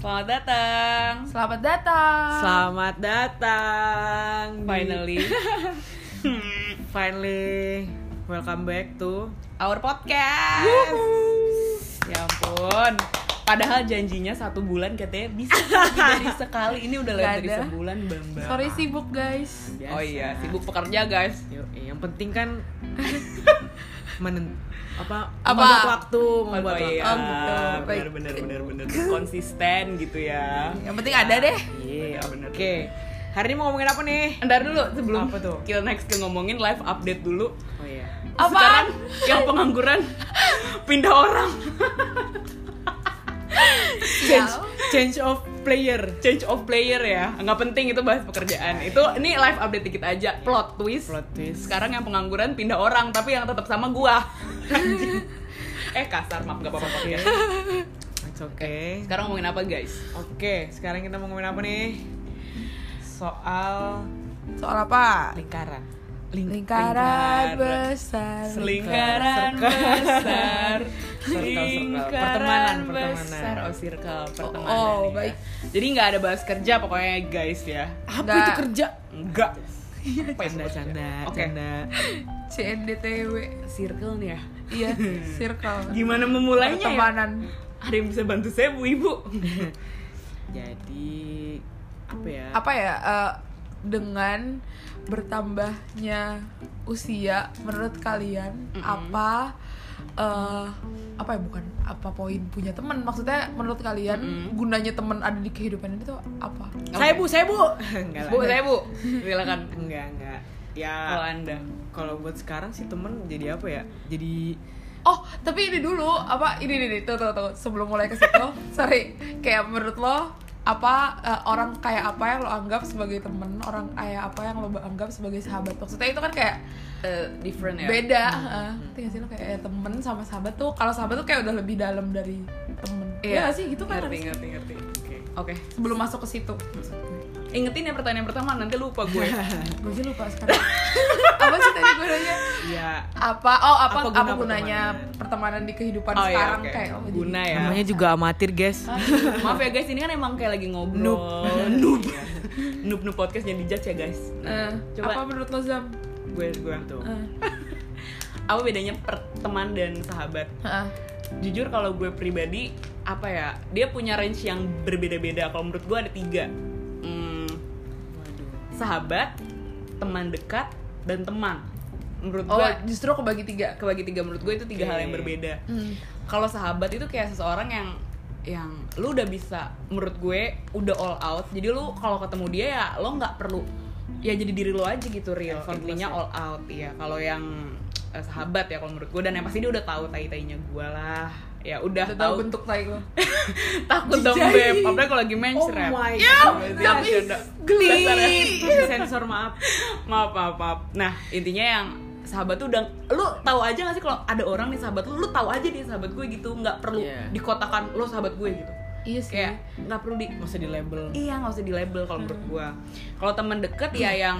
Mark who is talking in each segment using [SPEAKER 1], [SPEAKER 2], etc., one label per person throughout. [SPEAKER 1] Selamat datang.
[SPEAKER 2] Selamat datang.
[SPEAKER 3] Selamat datang. di-
[SPEAKER 1] Finally,
[SPEAKER 3] finally welcome back to
[SPEAKER 1] our podcast. Ya ampun. Padahal janjinya satu bulan katanya bisa lebih dari sekali. Ini udah
[SPEAKER 2] Nggak
[SPEAKER 1] lebih dari
[SPEAKER 2] ada.
[SPEAKER 1] sebulan, Bamba.
[SPEAKER 2] Sorry sibuk guys.
[SPEAKER 3] Biasa.
[SPEAKER 1] Oh iya, sibuk pekerja guys.
[SPEAKER 3] Yo, eh, yang penting kan menen apa,
[SPEAKER 2] Apa?
[SPEAKER 3] membuat waktu, membuat
[SPEAKER 1] Oh, iya.
[SPEAKER 3] waktu.
[SPEAKER 2] Oh, gitu.
[SPEAKER 1] bener,
[SPEAKER 2] Baik.
[SPEAKER 1] bener, bener, bener. Konsisten gitu ya.
[SPEAKER 2] Yang penting ada deh.
[SPEAKER 3] Iya,
[SPEAKER 1] Bener, bener.
[SPEAKER 3] oke. Hari ini mau ngomongin apa nih?
[SPEAKER 1] Ntar dulu sebelum
[SPEAKER 3] Apa tuh?
[SPEAKER 1] kita next ke ngomongin live update dulu.
[SPEAKER 3] Oh iya.
[SPEAKER 1] Sekarang
[SPEAKER 2] Apaan?
[SPEAKER 1] yang pengangguran pindah orang,
[SPEAKER 2] Iya.
[SPEAKER 3] Change, change of player.
[SPEAKER 1] change of player ya. Nggak penting itu bahas pekerjaan. Itu ini live update dikit aja. Plot twist.
[SPEAKER 3] Plot twist.
[SPEAKER 1] Sekarang yang pengangguran pindah orang, tapi yang tetap sama gua. Anjing. eh kasar maaf gak apa-apa Pak, ya.
[SPEAKER 3] It's okay.
[SPEAKER 1] Sekarang ngomongin apa guys?
[SPEAKER 3] Oke, sekarang kita mau ngomongin apa nih? Soal
[SPEAKER 2] Soal apa?
[SPEAKER 3] lingkaran.
[SPEAKER 2] Lingkaran besar.
[SPEAKER 1] Selingkaran
[SPEAKER 3] Circle.
[SPEAKER 1] besar.
[SPEAKER 3] Circle, circle.
[SPEAKER 1] Lingkaran
[SPEAKER 3] Pertemanan, pertemanan.
[SPEAKER 1] besar. Oh, circle pertemanan.
[SPEAKER 2] oh,
[SPEAKER 1] ya.
[SPEAKER 2] baik.
[SPEAKER 1] Jadi nggak ada bahas kerja pokoknya guys ya.
[SPEAKER 3] Apa
[SPEAKER 2] Nggak.
[SPEAKER 3] itu kerja? Iya,
[SPEAKER 1] Enggak. Apa yang
[SPEAKER 3] Canda,
[SPEAKER 1] bahas kerja?
[SPEAKER 3] canda,
[SPEAKER 1] Oke.
[SPEAKER 3] canda.
[SPEAKER 2] CNDTW.
[SPEAKER 1] Circle nih ya.
[SPEAKER 2] Iya, circle.
[SPEAKER 1] Gimana memulainya ya?
[SPEAKER 2] Pertemanan.
[SPEAKER 1] Ada yang bisa bantu saya Bu Ibu?
[SPEAKER 3] Jadi apa ya?
[SPEAKER 2] Apa ya? eh, dengan bertambahnya usia menurut kalian
[SPEAKER 1] Mm-mm.
[SPEAKER 2] apa eh, apa ya bukan apa poin punya teman maksudnya menurut kalian
[SPEAKER 1] Mm-mm.
[SPEAKER 2] gunanya teman ada di kehidupan itu apa
[SPEAKER 3] Saya bu, saya bu. enggak lah.
[SPEAKER 1] Bu, saya Bu. Silakan.
[SPEAKER 3] Enggak, enggak. Ya
[SPEAKER 1] Kalau Anda.
[SPEAKER 3] kalau buat sekarang sih temen jadi apa ya? Jadi
[SPEAKER 2] Oh, tapi ini dulu apa ini ini, ini tuh tuh tuh sebelum mulai ke situ, sorry. Kayak menurut lo apa eh, orang kayak apa yang lo anggap sebagai temen, orang kayak apa yang lo anggap sebagai sahabat? Maksudnya itu kan kayak
[SPEAKER 1] Eh, different ya.
[SPEAKER 2] beda. heeh. Ngerti nggak sih lo kayak eh, temen sama sahabat tuh kalau sahabat tuh kayak udah lebih dalam dari temen. Iya nggak sih gitu kan.
[SPEAKER 1] Ngerti,
[SPEAKER 2] harusnya.
[SPEAKER 1] ngerti, ngerti.
[SPEAKER 3] oke.
[SPEAKER 1] Oke.
[SPEAKER 2] Sebelum masuk ke situ.
[SPEAKER 1] Ingetin ya pertanyaan pertama nanti lupa gue.
[SPEAKER 2] Gue aja lupa sekarang. apa sih tadi gue nanya?
[SPEAKER 3] Ya
[SPEAKER 2] Apa oh apa
[SPEAKER 3] Apa
[SPEAKER 2] apa,
[SPEAKER 3] guna
[SPEAKER 2] gunanya pertemanan, di kehidupan
[SPEAKER 1] Oh, iya,
[SPEAKER 2] sekarang
[SPEAKER 1] oke.
[SPEAKER 2] kayak oh, jadi-
[SPEAKER 1] Guna ya.
[SPEAKER 3] namanya juga amatir, guys.
[SPEAKER 1] Maaf ya guys, ini kan emang kayak lagi ngobrol.
[SPEAKER 3] Noob.
[SPEAKER 1] Noob. Noob noob podcast jadi judge ya guys.
[SPEAKER 2] Eh,
[SPEAKER 1] Coba.
[SPEAKER 2] apa menurut lo Zam?
[SPEAKER 3] gue gue tuh.
[SPEAKER 2] Eh.
[SPEAKER 1] Apa bedanya perteman dan sahabat?
[SPEAKER 2] Heeh.
[SPEAKER 1] Jujur kalau gue pribadi apa ya? Dia punya range yang berbeda-beda. Kalau menurut gue ada tiga. Hmm,
[SPEAKER 3] Waduh.
[SPEAKER 1] sahabat, teman dekat, dan teman. Menurut
[SPEAKER 2] Oh,
[SPEAKER 1] gue
[SPEAKER 2] justru kebagi tiga.
[SPEAKER 1] kebagi tiga menurut gue itu tiga
[SPEAKER 3] Oke.
[SPEAKER 1] hal yang berbeda.
[SPEAKER 2] Hmm.
[SPEAKER 1] Kalau sahabat itu kayak seseorang yang yang lu udah bisa menurut gue udah all out. Jadi lu kalau ketemu dia ya lo nggak perlu ya jadi diri lo aja gitu real.
[SPEAKER 3] Effortless
[SPEAKER 1] Intinya
[SPEAKER 3] ya.
[SPEAKER 1] all out ya. Kalau yang eh, sahabat ya kalau menurut gue dan yang pasti dia udah tahu tai-tainya gue lah. Ya udah
[SPEAKER 2] Udah tahu
[SPEAKER 1] tahu
[SPEAKER 2] bentuk tai lo.
[SPEAKER 1] takut dong
[SPEAKER 2] Jijai.
[SPEAKER 1] beb. Apalagi kalau lagi mencret.
[SPEAKER 3] Oh my
[SPEAKER 1] tapi
[SPEAKER 3] ya,
[SPEAKER 1] geli.
[SPEAKER 3] sensor maaf.
[SPEAKER 1] maaf maaf maaf nah intinya yang sahabat tuh udah lu tahu aja gak sih kalau ada orang nih sahabat lu lu tahu aja dia sahabat gue gitu nggak perlu
[SPEAKER 3] Iya.
[SPEAKER 1] dikotakan lo sahabat gue gitu
[SPEAKER 2] Iya sih.
[SPEAKER 1] kayak nggak perlu di
[SPEAKER 3] Masa di label.
[SPEAKER 1] iya nggak usah di label kalau menurut gue kalau teman deket ya yang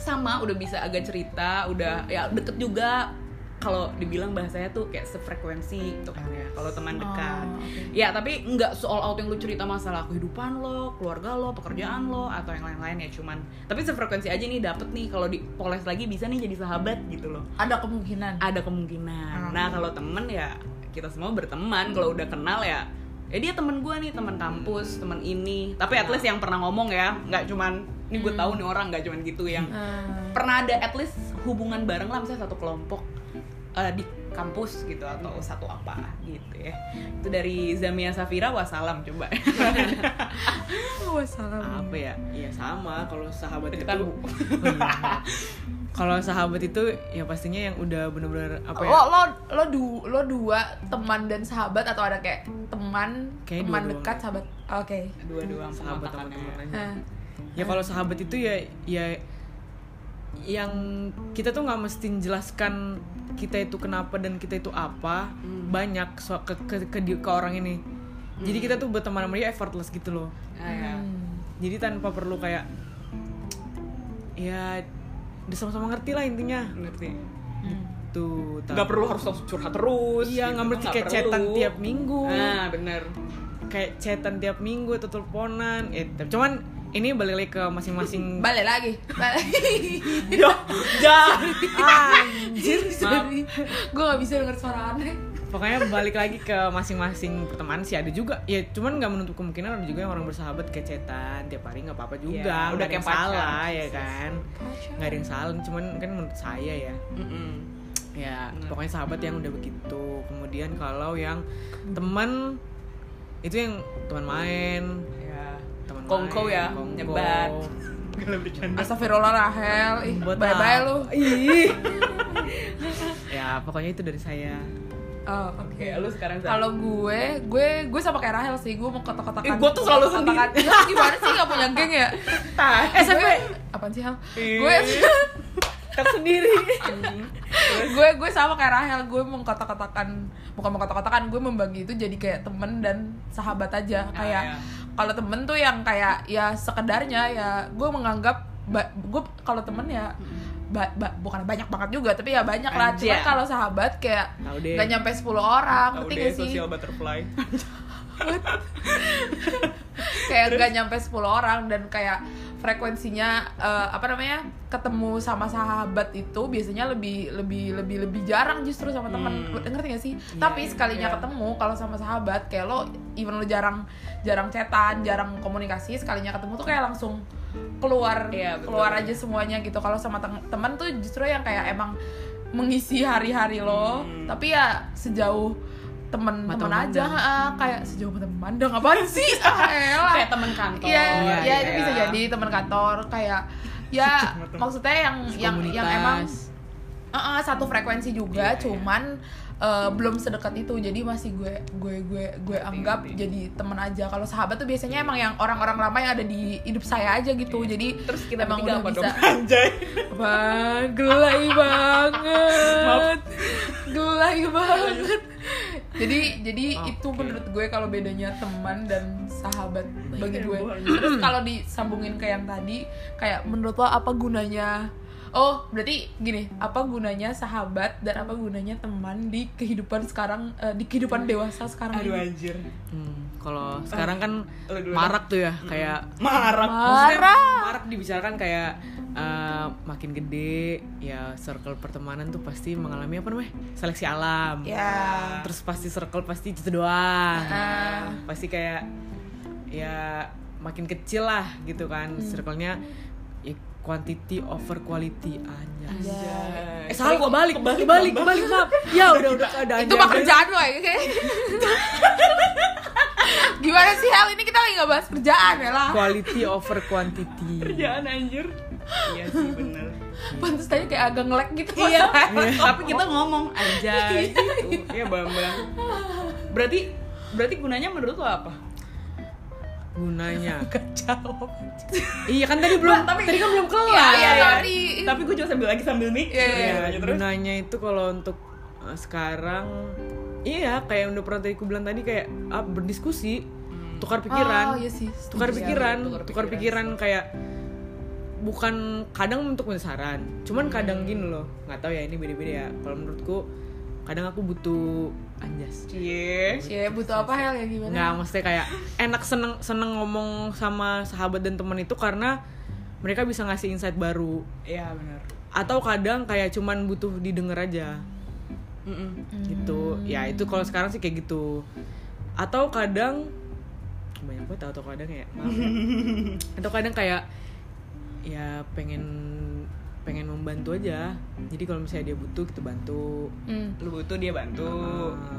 [SPEAKER 1] sama udah bisa agak cerita udah ya deket juga kalau dibilang bahasanya tuh kayak sefrekuensi gitu kan ya kalau teman dekat
[SPEAKER 2] Oh, oke.
[SPEAKER 1] ya tapi nggak se all out yang lu cerita masalah kehidupan lo keluarga lo pekerjaan lo atau yang lain-lain ya cuman tapi sefrekuensi aja nih dapet nih kalau dipoles lagi bisa nih jadi sahabat gitu loh
[SPEAKER 2] Ada kemungkinan.
[SPEAKER 1] ada kemungkinan. Nah kalau temen ya kita semua berteman. Kalau udah kenal ya, ya dia temen gue nih, temen kampus, temen ini. Tapi at least yang pernah ngomong ya, nggak cuman ini gue tahu nih orang nggak cuman gitu yang
[SPEAKER 2] Eh,
[SPEAKER 1] pernah ada at least hubungan bareng lah misalnya satu kelompok eh, di kampus gitu atau satu apa gitu ya. Itu dari Zamia Safira wassalam coba.
[SPEAKER 2] oh, salam.
[SPEAKER 3] Apa ya? Iya sama kalau sahabat itu.
[SPEAKER 1] Deketan, Bu.
[SPEAKER 3] kalau sahabat itu ya pastinya yang udah bener-bener apa ya?
[SPEAKER 2] Lo lo lo, du- lo dua teman dan sahabat atau ada kayak teman,
[SPEAKER 3] Kayak
[SPEAKER 2] teman
[SPEAKER 3] dua-duanya.
[SPEAKER 2] dekat, sahabat. Oke.
[SPEAKER 1] Dua-dua
[SPEAKER 3] sahabat sama temen
[SPEAKER 1] teman
[SPEAKER 3] aja.
[SPEAKER 2] Eh,
[SPEAKER 3] ya kalau sahabat itu ya ya yang kita tuh nggak mesti jelaskan kita itu kenapa dan kita itu apa
[SPEAKER 1] Hmm.
[SPEAKER 3] banyak so ke ke ke, di- ke orang ini jadi kita tuh berteman sama dia effortless gitu loh
[SPEAKER 1] Ah, ya.
[SPEAKER 2] hmm.
[SPEAKER 3] jadi tanpa perlu kayak ya udah sama-sama ngerti lah intinya
[SPEAKER 1] Ngerti.
[SPEAKER 2] Hmm.
[SPEAKER 3] tuh tapi-
[SPEAKER 1] Nggak perlu harus curhat terus.
[SPEAKER 3] iya
[SPEAKER 1] gitu.
[SPEAKER 3] nggak mesti
[SPEAKER 1] Nggak
[SPEAKER 3] kayak chatan
[SPEAKER 1] perlu.
[SPEAKER 3] tiap minggu
[SPEAKER 1] Ah, bener.
[SPEAKER 3] kayak chatan tiap minggu atau teleponan gitu. Cuman ini balik lagi ke masing-masing
[SPEAKER 2] balik lagi balik
[SPEAKER 3] Yo,
[SPEAKER 1] Ya.
[SPEAKER 3] dah. Ah, Anjir.
[SPEAKER 1] Maaf.
[SPEAKER 2] gue gak bisa denger suara aneh
[SPEAKER 3] Pokoknya balik lagi ke masing-masing pertemanan sih ada juga. Ya cuman nggak menutup kemungkinan ada juga yang orang bersahabat kecetan tiap hari nggak apa-apa juga.
[SPEAKER 1] Iya, udah
[SPEAKER 3] Nggak ada yang
[SPEAKER 1] kayak pacar.
[SPEAKER 3] salah ya kan. Nggak ada yang salah. Cuman kan menurut saya ya.
[SPEAKER 1] Mm-mm.
[SPEAKER 3] Ya
[SPEAKER 1] Benar.
[SPEAKER 3] pokoknya sahabat yang udah begitu. Kemudian kalau yang teman itu yang teman main,
[SPEAKER 1] Ya.
[SPEAKER 3] teman
[SPEAKER 1] Kongko
[SPEAKER 3] main,
[SPEAKER 1] ya,
[SPEAKER 3] kongko.
[SPEAKER 1] nyebat. Kalau bercanda.
[SPEAKER 2] Astagfirullah Rahel, ih
[SPEAKER 3] Buat
[SPEAKER 2] bye bye
[SPEAKER 3] apa?
[SPEAKER 2] lu.
[SPEAKER 3] Ih. ya pokoknya itu dari saya.
[SPEAKER 2] Oh, oke.
[SPEAKER 1] Oke, lu sekarang Zan.
[SPEAKER 2] Kalau gue, gue gue sama kayak Rahel sih, gue mau kotak-kotakan.
[SPEAKER 1] Ih, Eh, gua tuh selalu
[SPEAKER 2] kotak-kotakan.
[SPEAKER 1] sendiri.
[SPEAKER 2] Iya, gimana sih gak punya geng ya?
[SPEAKER 3] Tai.
[SPEAKER 2] Eh, tapi apaan sih Hel?
[SPEAKER 3] Ih.
[SPEAKER 2] Gue
[SPEAKER 3] tak sendiri.
[SPEAKER 2] gue gue sama kayak Rahel, gue mau kotak-kotakan, bukan mau kotak-kotakan, gue membagi itu jadi kayak temen dan sahabat aja.
[SPEAKER 1] Ah,
[SPEAKER 2] Kayak
[SPEAKER 1] iya.
[SPEAKER 2] kalau temen tuh yang kayak ya sekedarnya ya gue menganggap ba- gue kalau temen ya ba- ba- bukan banyak banget juga tapi ya banyak lah
[SPEAKER 1] Anjir.
[SPEAKER 2] cuman kalau sahabat kayak
[SPEAKER 3] Tahu deh.
[SPEAKER 2] nggak nyampe 10 orang ngerti gak sih
[SPEAKER 3] butterfly.
[SPEAKER 2] kayak nggak nyampe 10 orang dan kayak frekuensinya eh, apa namanya ketemu sama sahabat itu biasanya lebih lebih lebih lebih jarang justru sama temen
[SPEAKER 1] Hmm.
[SPEAKER 2] ngerti gak sih
[SPEAKER 1] Iya,
[SPEAKER 2] tapi sekalinya ketemu kalau sama sahabat kayak lo even lo jarang jarang cetan jarang komunikasi sekalinya ketemu tuh kayak langsung keluar
[SPEAKER 1] Iya, betul.
[SPEAKER 2] keluar aja semuanya gitu kalau sama teng- temen tuh justru yang kayak emang mengisi hari-hari lo
[SPEAKER 1] Hmm.
[SPEAKER 2] tapi ya sejauh temen-temen
[SPEAKER 3] Mata
[SPEAKER 2] aja ah, kayak sejauh mata memandang apaan sih ah, elah.
[SPEAKER 1] kayak teman kantor.
[SPEAKER 2] Iya,
[SPEAKER 3] Iya,
[SPEAKER 2] iya itu
[SPEAKER 3] iya.
[SPEAKER 2] bisa jadi teman kantor kayak ya maksudnya yang yang yang emang uh-uh, satu frekuensi juga,
[SPEAKER 3] Iya, iya.
[SPEAKER 2] cuman uh, belum sedekat itu. Jadi masih gue gue gue gue anggap jadi teman aja. Kalau sahabat tuh biasanya emang yang orang-orang lama yang ada di hidup saya aja gitu. Jadi
[SPEAKER 1] Terus kita
[SPEAKER 2] emang
[SPEAKER 1] bertiga
[SPEAKER 2] udah
[SPEAKER 1] apa
[SPEAKER 2] bisa.
[SPEAKER 1] dong?
[SPEAKER 3] Anjay.
[SPEAKER 2] Bang, gelai banget.
[SPEAKER 3] Maaf.
[SPEAKER 2] gelai banget. Jadi jadi itu
[SPEAKER 3] Oke.
[SPEAKER 2] menurut gue kalau bedanya teman dan sahabat bagi gue.
[SPEAKER 1] buah.
[SPEAKER 2] Terus kalau disambungin ke yang tadi, kayak menurut lo apa gunanya? Oh, berarti gini, apa gunanya sahabat dan apa gunanya teman di kehidupan sekarang eh, di kehidupan dewasa sekarang
[SPEAKER 1] Aduh
[SPEAKER 2] ini?
[SPEAKER 1] anjir.
[SPEAKER 3] Hmm, kalau sekarang kan
[SPEAKER 1] Lu dulu.
[SPEAKER 3] marak tuh ya kayak
[SPEAKER 1] Marah.
[SPEAKER 3] maksudnya
[SPEAKER 2] Marah.
[SPEAKER 3] marak dibicarakan kayak eh, makin gede ya circle pertemanan tuh pasti mengalami apa namanya seleksi alam
[SPEAKER 2] Ya.
[SPEAKER 3] terus pasti circle pasti itu doang
[SPEAKER 2] Ah.
[SPEAKER 3] pasti kayak ya makin kecil lah gitu kan circle-nya ya, quantity over quality aja
[SPEAKER 2] ya.
[SPEAKER 3] eh salah gua balik balik balik balik maaf ya udah udah ada
[SPEAKER 2] itu mah kerjaan lo ya kayak. Gimana sih hal ini kita lagi nggak bahas kerjaan ya lah.
[SPEAKER 3] quality over quantity
[SPEAKER 1] Kerjaan anjir. Iya sih bener.
[SPEAKER 2] Pantes tadi kayak agak ngelek gitu
[SPEAKER 1] Iya.
[SPEAKER 2] masa.
[SPEAKER 1] Tapi kita ngomong aja
[SPEAKER 2] Iya,
[SPEAKER 1] gitu. Iya bambang. Berarti berarti gunanya menurut lo apa?
[SPEAKER 3] gunanya iya kan tadi belum
[SPEAKER 1] Tapi
[SPEAKER 3] tadi kan belum kelar
[SPEAKER 2] Iya, iya, sorry.
[SPEAKER 1] Tapi gue juga sambil lagi sambil mikir.
[SPEAKER 2] Iya, iya.
[SPEAKER 1] Ya, terus.
[SPEAKER 3] gunanya itu kalau untuk eh, sekarang iya kayak yang udah pernah tadi aku bilang tadi kayak ah, berdiskusi tukar pikiran
[SPEAKER 2] Oh, iya sih.
[SPEAKER 3] tukar
[SPEAKER 2] Setuju.
[SPEAKER 3] pikiran
[SPEAKER 1] tukar
[SPEAKER 3] tukar pikiran kayak bukan kadang untuk minta saran
[SPEAKER 2] Hmm.
[SPEAKER 3] cuman kadang gini loh nggak tahu ya ini beda-beda ya kalau menurutku kadang aku butuh Iya. anjas
[SPEAKER 1] Cie.
[SPEAKER 2] Cie, butuh apa hal ya gimana?
[SPEAKER 3] nggak maksudnya kayak enak seneng seneng ngomong sama sahabat dan teman itu karena mereka bisa ngasih insight baru
[SPEAKER 1] Iya bener.
[SPEAKER 3] atau kadang kayak cuman butuh didengar aja
[SPEAKER 1] Mm-mm.
[SPEAKER 3] gitu ya itu kalau sekarang sih kayak gitu atau kadang banyak banget atau kadang ya maaf ya. atau kadang kayak ya pengen pengen membantu aja jadi kalau misalnya dia butuh kita bantu
[SPEAKER 2] Hmm.
[SPEAKER 1] Lu butuh dia bantu.
[SPEAKER 3] Ah,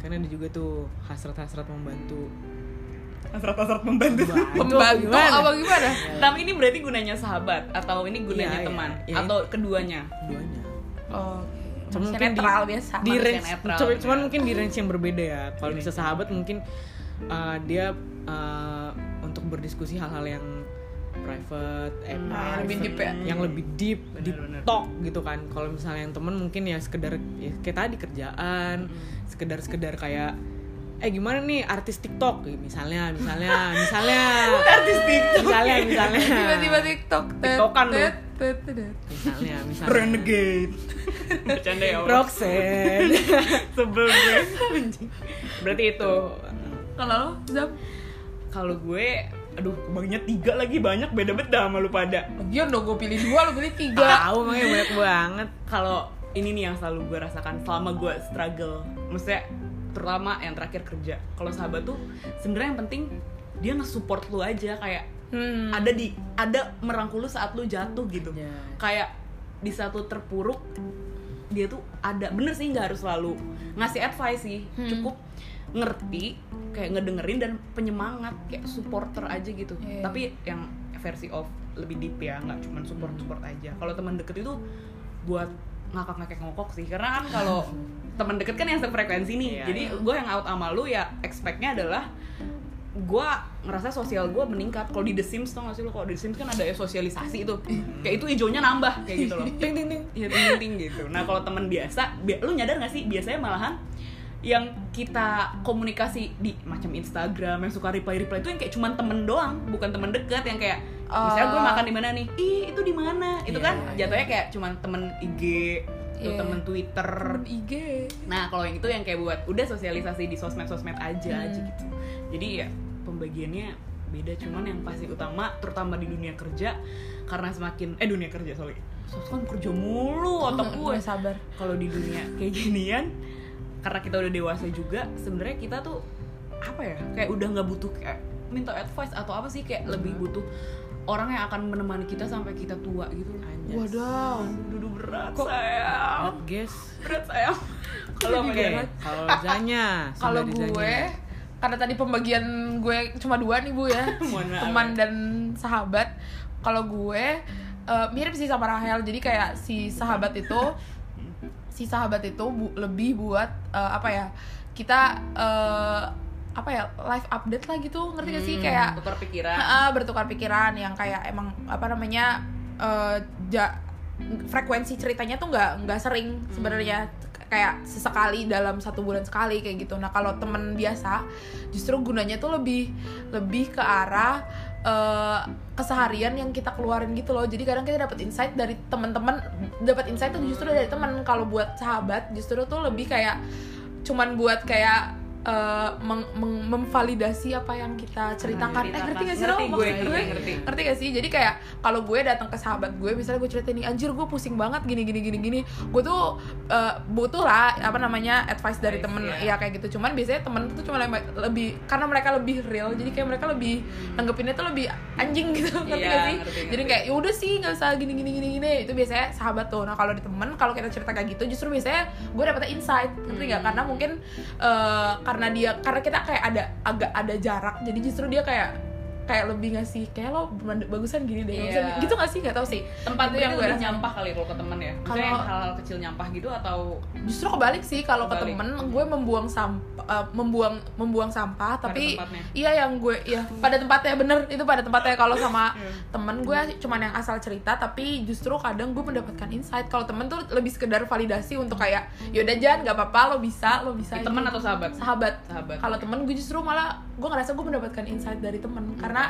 [SPEAKER 3] karena ada juga tuh hasrat-hasrat membantu
[SPEAKER 1] Hasrat-hasrat membantu.
[SPEAKER 2] Pembantu
[SPEAKER 3] gimana?
[SPEAKER 2] apa gimana?
[SPEAKER 1] Tapi ini berarti gunanya sahabat atau ini gunanya
[SPEAKER 3] Iya, iya.
[SPEAKER 1] teman
[SPEAKER 3] Iya.
[SPEAKER 1] atau keduanya?
[SPEAKER 3] duanya
[SPEAKER 2] Oh, Manusia
[SPEAKER 3] Cuma mungkin di-
[SPEAKER 2] netral biasa.
[SPEAKER 3] di
[SPEAKER 1] manusia
[SPEAKER 3] range
[SPEAKER 1] netral,
[SPEAKER 3] cuma-
[SPEAKER 1] bener.
[SPEAKER 3] cuman mungkin di range yang berbeda ya kalau
[SPEAKER 1] Di
[SPEAKER 3] bisa
[SPEAKER 1] range.
[SPEAKER 3] sahabat mungkin uh, dia uh, untuk berdiskusi hal-hal yang private, eh,
[SPEAKER 1] Hmm,
[SPEAKER 2] yang lebih
[SPEAKER 3] private,
[SPEAKER 2] deep ya.
[SPEAKER 3] yang lebih deep,
[SPEAKER 1] Bener,
[SPEAKER 3] deep
[SPEAKER 1] bener.
[SPEAKER 3] talk gitu kan. Kalau misalnya yang temen mungkin ya sekedar ya kayak tadi kerjaan, sekedar-sekedar kayak eh gimana nih artis TikTok Gitu, misalnya misalnya misalnya artis TikTok misalnya misalnya
[SPEAKER 2] Tiba-tiba TikTok.
[SPEAKER 3] Ah.
[SPEAKER 2] tet,
[SPEAKER 1] TikTokan lu.
[SPEAKER 2] tet, tet, tet.
[SPEAKER 3] misalnya misalnya
[SPEAKER 1] Renegade. Bercanda ya. Allah.
[SPEAKER 3] Roxanne
[SPEAKER 1] sebelumnya berarti itu
[SPEAKER 2] Kalau lo, Zab?
[SPEAKER 1] Kalau gue, aduh kembangnya tiga lagi banyak beda beda sama lu pada.
[SPEAKER 2] Lagian dong gue pilih dua, lo pilih tiga.
[SPEAKER 3] Tahu makanya banyak banget.
[SPEAKER 1] Kalau ini nih yang selalu gue rasakan selama gue struggle, maksudnya terutama yang terakhir kerja. Kalau sahabat tuh sebenarnya yang penting dia nge-support lu aja kayak
[SPEAKER 2] Hmm.
[SPEAKER 1] ada di ada merangkul lu saat lu jatuh gitu
[SPEAKER 3] Iya.
[SPEAKER 1] kayak di saat lu terpuruk dia tuh ada bener sih nggak harus selalu ngasih advice sih cukup ngerti kayak ngedengerin dan penyemangat kayak supporter aja gitu
[SPEAKER 2] Iya.
[SPEAKER 1] tapi yang versi of lebih deep ya nggak cuman support support aja kalau teman deket itu buat ngakak ngakak ngokok sih karena kan kalau teman deket kan yang sefrekuensi nih
[SPEAKER 3] Iya,
[SPEAKER 1] jadi gue yang out sama lu ya expectnya adalah gue ngerasa sosial gue meningkat kalau di The Sims tau gak sih lo kalau di The Sims kan ada sosialisasi itu kayak itu hijaunya nambah kayak gitu loh
[SPEAKER 3] Ting ting ting.
[SPEAKER 1] ya ting gitu nah kalau teman biasa bi- lu nyadar gak sih biasanya malahan yang kita komunikasi di macam Instagram yang suka reply reply itu yang kayak cuman temen doang bukan temen deket yang kayak misalnya gue
[SPEAKER 2] Ah.
[SPEAKER 1] makan di mana nih ih itu di mana itu
[SPEAKER 3] Iya,
[SPEAKER 1] kan jatuhnya kayak cuman temen IG atau
[SPEAKER 2] Iya.
[SPEAKER 1] temen Twitter
[SPEAKER 2] IG.
[SPEAKER 1] Nah, kalau yang itu yang kayak buat udah sosialisasi di sosmed-sosmed aja
[SPEAKER 2] Hmm.
[SPEAKER 1] aja gitu. Jadi ya pembagiannya beda cuman yang pasti utama terutama di dunia kerja karena semakin eh dunia kerja sorry Sos kan kerja mulu otak gue
[SPEAKER 2] Nggak sabar.
[SPEAKER 1] kalau di dunia kayak ginian karena kita udah dewasa juga sebenarnya kita tuh apa ya kayak udah nggak butuh kayak minta advice atau apa sih kayak lebih butuh orang yang akan menemani kita sampai kita tua gitu
[SPEAKER 3] Anjas.
[SPEAKER 2] Waduh.
[SPEAKER 1] duduk berat sayang
[SPEAKER 3] Guys,
[SPEAKER 1] berat sayang kalau
[SPEAKER 2] Jadi
[SPEAKER 1] kayak-
[SPEAKER 2] berat.
[SPEAKER 3] kalau Zanya,
[SPEAKER 2] Kalau
[SPEAKER 3] saudari
[SPEAKER 2] gue,
[SPEAKER 3] Zanya.
[SPEAKER 2] karena tadi pembagian gue cuma dua nih bu ya,
[SPEAKER 1] Mohon maaf.
[SPEAKER 2] teman dan sahabat. Kalau gue eh, mirip sih sama Rahel, jadi kayak si sahabat itu, si sahabat itu bu- lebih buat eh, apa ya? Kita eh, apa ya live update lah gitu, ngerti gak
[SPEAKER 1] Hmm.
[SPEAKER 2] sih kayak
[SPEAKER 1] tukar pikiran
[SPEAKER 2] Heeh, bertukar pikiran yang kayak emang apa namanya eh, ja- frekuensi ceritanya tuh nggak nggak sering sebenarnya K- kayak sesekali dalam satu bulan sekali kayak gitu. Nah kalau temen biasa justru gunanya tuh lebih lebih ke arah eh, keseharian yang kita keluarin gitu loh. Jadi kadang kita dapat insight dari teman-teman, dapat insight tuh justru dari teman. Kalau buat sahabat justru tuh lebih kayak cuman buat kayak eh, meng- meng- memvalidasi apa yang kita ceritakan. Eh ngerti gak sih lo?
[SPEAKER 1] Ngerti gue,
[SPEAKER 2] maksud
[SPEAKER 1] ngerti, ngerti.
[SPEAKER 2] ngerti gak sih jadi kayak kalau gue datang ke sahabat gue misalnya gue cerita nih anjir gue pusing banget gini gini gini gini gue tuh eh, butuh lah apa namanya advice
[SPEAKER 1] Advice,
[SPEAKER 2] dari temen
[SPEAKER 1] ya.
[SPEAKER 2] ya kayak gitu cuman biasanya temen tuh cuma lem- lebih karena mereka lebih real jadi kayak mereka lebih nanggepinnya tuh lebih anjing gitu
[SPEAKER 1] Iya,
[SPEAKER 2] ngerti gak sih
[SPEAKER 1] ngerti,
[SPEAKER 2] jadi
[SPEAKER 1] ngerti.
[SPEAKER 2] kayak ya udah sih nggak usah gini gini gini gini itu biasanya sahabat tuh nah kalau di temen kalau kita cerita kayak gitu justru biasanya gue dapetnya insight ngerti
[SPEAKER 1] Hmm.
[SPEAKER 2] nggak karena mungkin eh, karena dia karena kita kayak ada agak ada jarak jadi justru dia kayak kayak lebih ngasih kayak lo bener- bagusan gini deh
[SPEAKER 1] Iya.
[SPEAKER 2] bagusan gini." gitu nggak sih nggak tahu sih
[SPEAKER 1] tempat
[SPEAKER 2] Itu
[SPEAKER 1] yang
[SPEAKER 2] gue
[SPEAKER 1] lebih
[SPEAKER 2] rasain.
[SPEAKER 1] nyampah kali kalau ke temen ya misalnya
[SPEAKER 2] Kalau-
[SPEAKER 1] yang hal-hal kecil nyampah gitu atau
[SPEAKER 2] justru kebalik sih kalau ke
[SPEAKER 1] Kebalik.
[SPEAKER 2] temen gue membuang sampah membuang membuang sampah
[SPEAKER 1] Pada
[SPEAKER 2] tapi
[SPEAKER 1] tempatnya.
[SPEAKER 2] iya yang gue ya pada tempatnya bener itu pada tempatnya kalau sama
[SPEAKER 1] Iya.
[SPEAKER 2] temen gue cuman yang asal cerita tapi justru kadang gue mendapatkan insight kalau temen tuh lebih sekedar validasi untuk kayak yaudah Jan nggak apa-apa lo bisa lo bisa
[SPEAKER 1] teman atau sahabat
[SPEAKER 2] sahabat
[SPEAKER 1] sahabat
[SPEAKER 2] kalau temen gue justru malah gue ngerasa gue mendapatkan insight dari temen
[SPEAKER 1] Hmm.
[SPEAKER 2] karena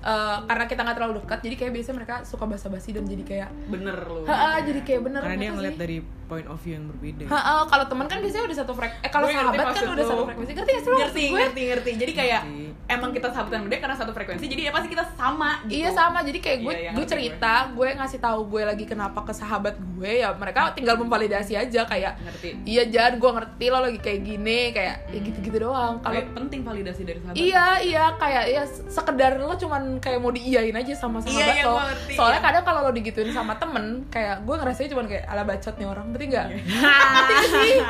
[SPEAKER 2] eh, karena kita nggak terlalu dekat jadi kayak biasanya mereka suka basa-basi dan jadi kayak
[SPEAKER 1] bener lu
[SPEAKER 2] "Ha-ha," jadi kayak bener
[SPEAKER 3] Karena dia
[SPEAKER 2] kenapa
[SPEAKER 3] ngeliat
[SPEAKER 2] sih?"
[SPEAKER 3] dari point of view yang berbeda.
[SPEAKER 2] Heeh, kalau teman kan biasanya udah satu frek eh kalau
[SPEAKER 1] Gue ngerti
[SPEAKER 2] sahabat kan
[SPEAKER 1] maksud
[SPEAKER 2] udah
[SPEAKER 1] lu.
[SPEAKER 2] satu frekuensi ngerti gak sih lo
[SPEAKER 1] ngerti
[SPEAKER 2] gue
[SPEAKER 1] ngerti ngerti jadi kayak
[SPEAKER 3] Ngerti.
[SPEAKER 1] emang kita sahabatan beda karena satu frekuensi jadi ya pasti kita sama gitu
[SPEAKER 2] Iya sama, jadi kayak gue
[SPEAKER 1] Iya, iya,
[SPEAKER 2] gue
[SPEAKER 1] ngerti
[SPEAKER 2] cerita, gue ngasih tahu gue lagi kenapa ke sahabat gue ya mereka tinggal memvalidasi aja kayak
[SPEAKER 1] ngerti
[SPEAKER 2] iya Jan, gue ngerti lo lagi kayak gini kayak
[SPEAKER 1] Hmm.
[SPEAKER 2] ya gitu-gitu doang. Kalau
[SPEAKER 1] kalau penting validasi dari sahabat
[SPEAKER 2] Iya, iya, kayak ya sekedar lo cuman kayak mau diiyain aja sama sahabat
[SPEAKER 1] Iya, iya,
[SPEAKER 2] lo.
[SPEAKER 1] gua ngerti,
[SPEAKER 2] Soalnya
[SPEAKER 1] iya.
[SPEAKER 2] kadang kalau lo digituin sama temen, kayak gue ngerasanya cuman kayak ala bacot nih orang, berarti
[SPEAKER 1] Iya.
[SPEAKER 2] nggak?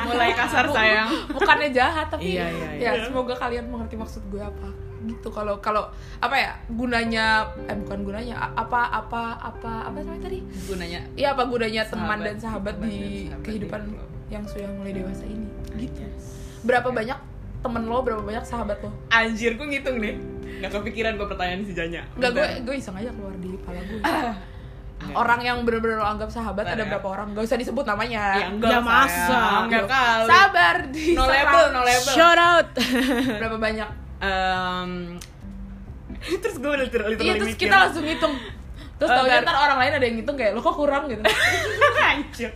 [SPEAKER 1] mulai kasar sayang
[SPEAKER 2] bukannya jahat tapi
[SPEAKER 3] Iya, iya, iya.
[SPEAKER 2] ya semoga kalian mengerti maksud gue apa gitu kalau kalau apa ya gunanya eh bukan gunanya a- apa apa apa apa namanya tadi
[SPEAKER 1] gue nanya
[SPEAKER 2] ya apa gunanya teman
[SPEAKER 1] Sahabat,
[SPEAKER 2] dan sahabat
[SPEAKER 1] teman
[SPEAKER 2] di
[SPEAKER 1] dan sahabat gitu. Hmm.
[SPEAKER 2] kehidupan
[SPEAKER 1] di keluarga.
[SPEAKER 2] yang sudah mulai dewasa ini
[SPEAKER 3] gitu.
[SPEAKER 2] berapa banyak temen lo berapa banyak sahabat lo
[SPEAKER 1] anjir gue ngitung deh nggak kepikiran gue pertanyaan si Janya
[SPEAKER 2] nggak gue
[SPEAKER 1] Bentar.
[SPEAKER 2] gue iseng aja keluar di kepala gue orang yang bener-bener lo anggap sahabat
[SPEAKER 1] Bentar
[SPEAKER 2] ada
[SPEAKER 1] ya.
[SPEAKER 2] berapa orang gak usah disebut namanya
[SPEAKER 1] ya enggak
[SPEAKER 3] Ya,
[SPEAKER 1] sayang.
[SPEAKER 3] masa?
[SPEAKER 1] enggak kali
[SPEAKER 2] sabar di
[SPEAKER 1] no label no label
[SPEAKER 3] Shout out.
[SPEAKER 2] berapa banyak
[SPEAKER 1] Em, terus gue literally
[SPEAKER 2] Iya terus kita langsung ngitung
[SPEAKER 1] Eh,
[SPEAKER 2] Terus taunya
[SPEAKER 1] bentar.
[SPEAKER 2] ntar orang lain ada yang ngitung kayak lo kok kurang gitu
[SPEAKER 1] Anjir.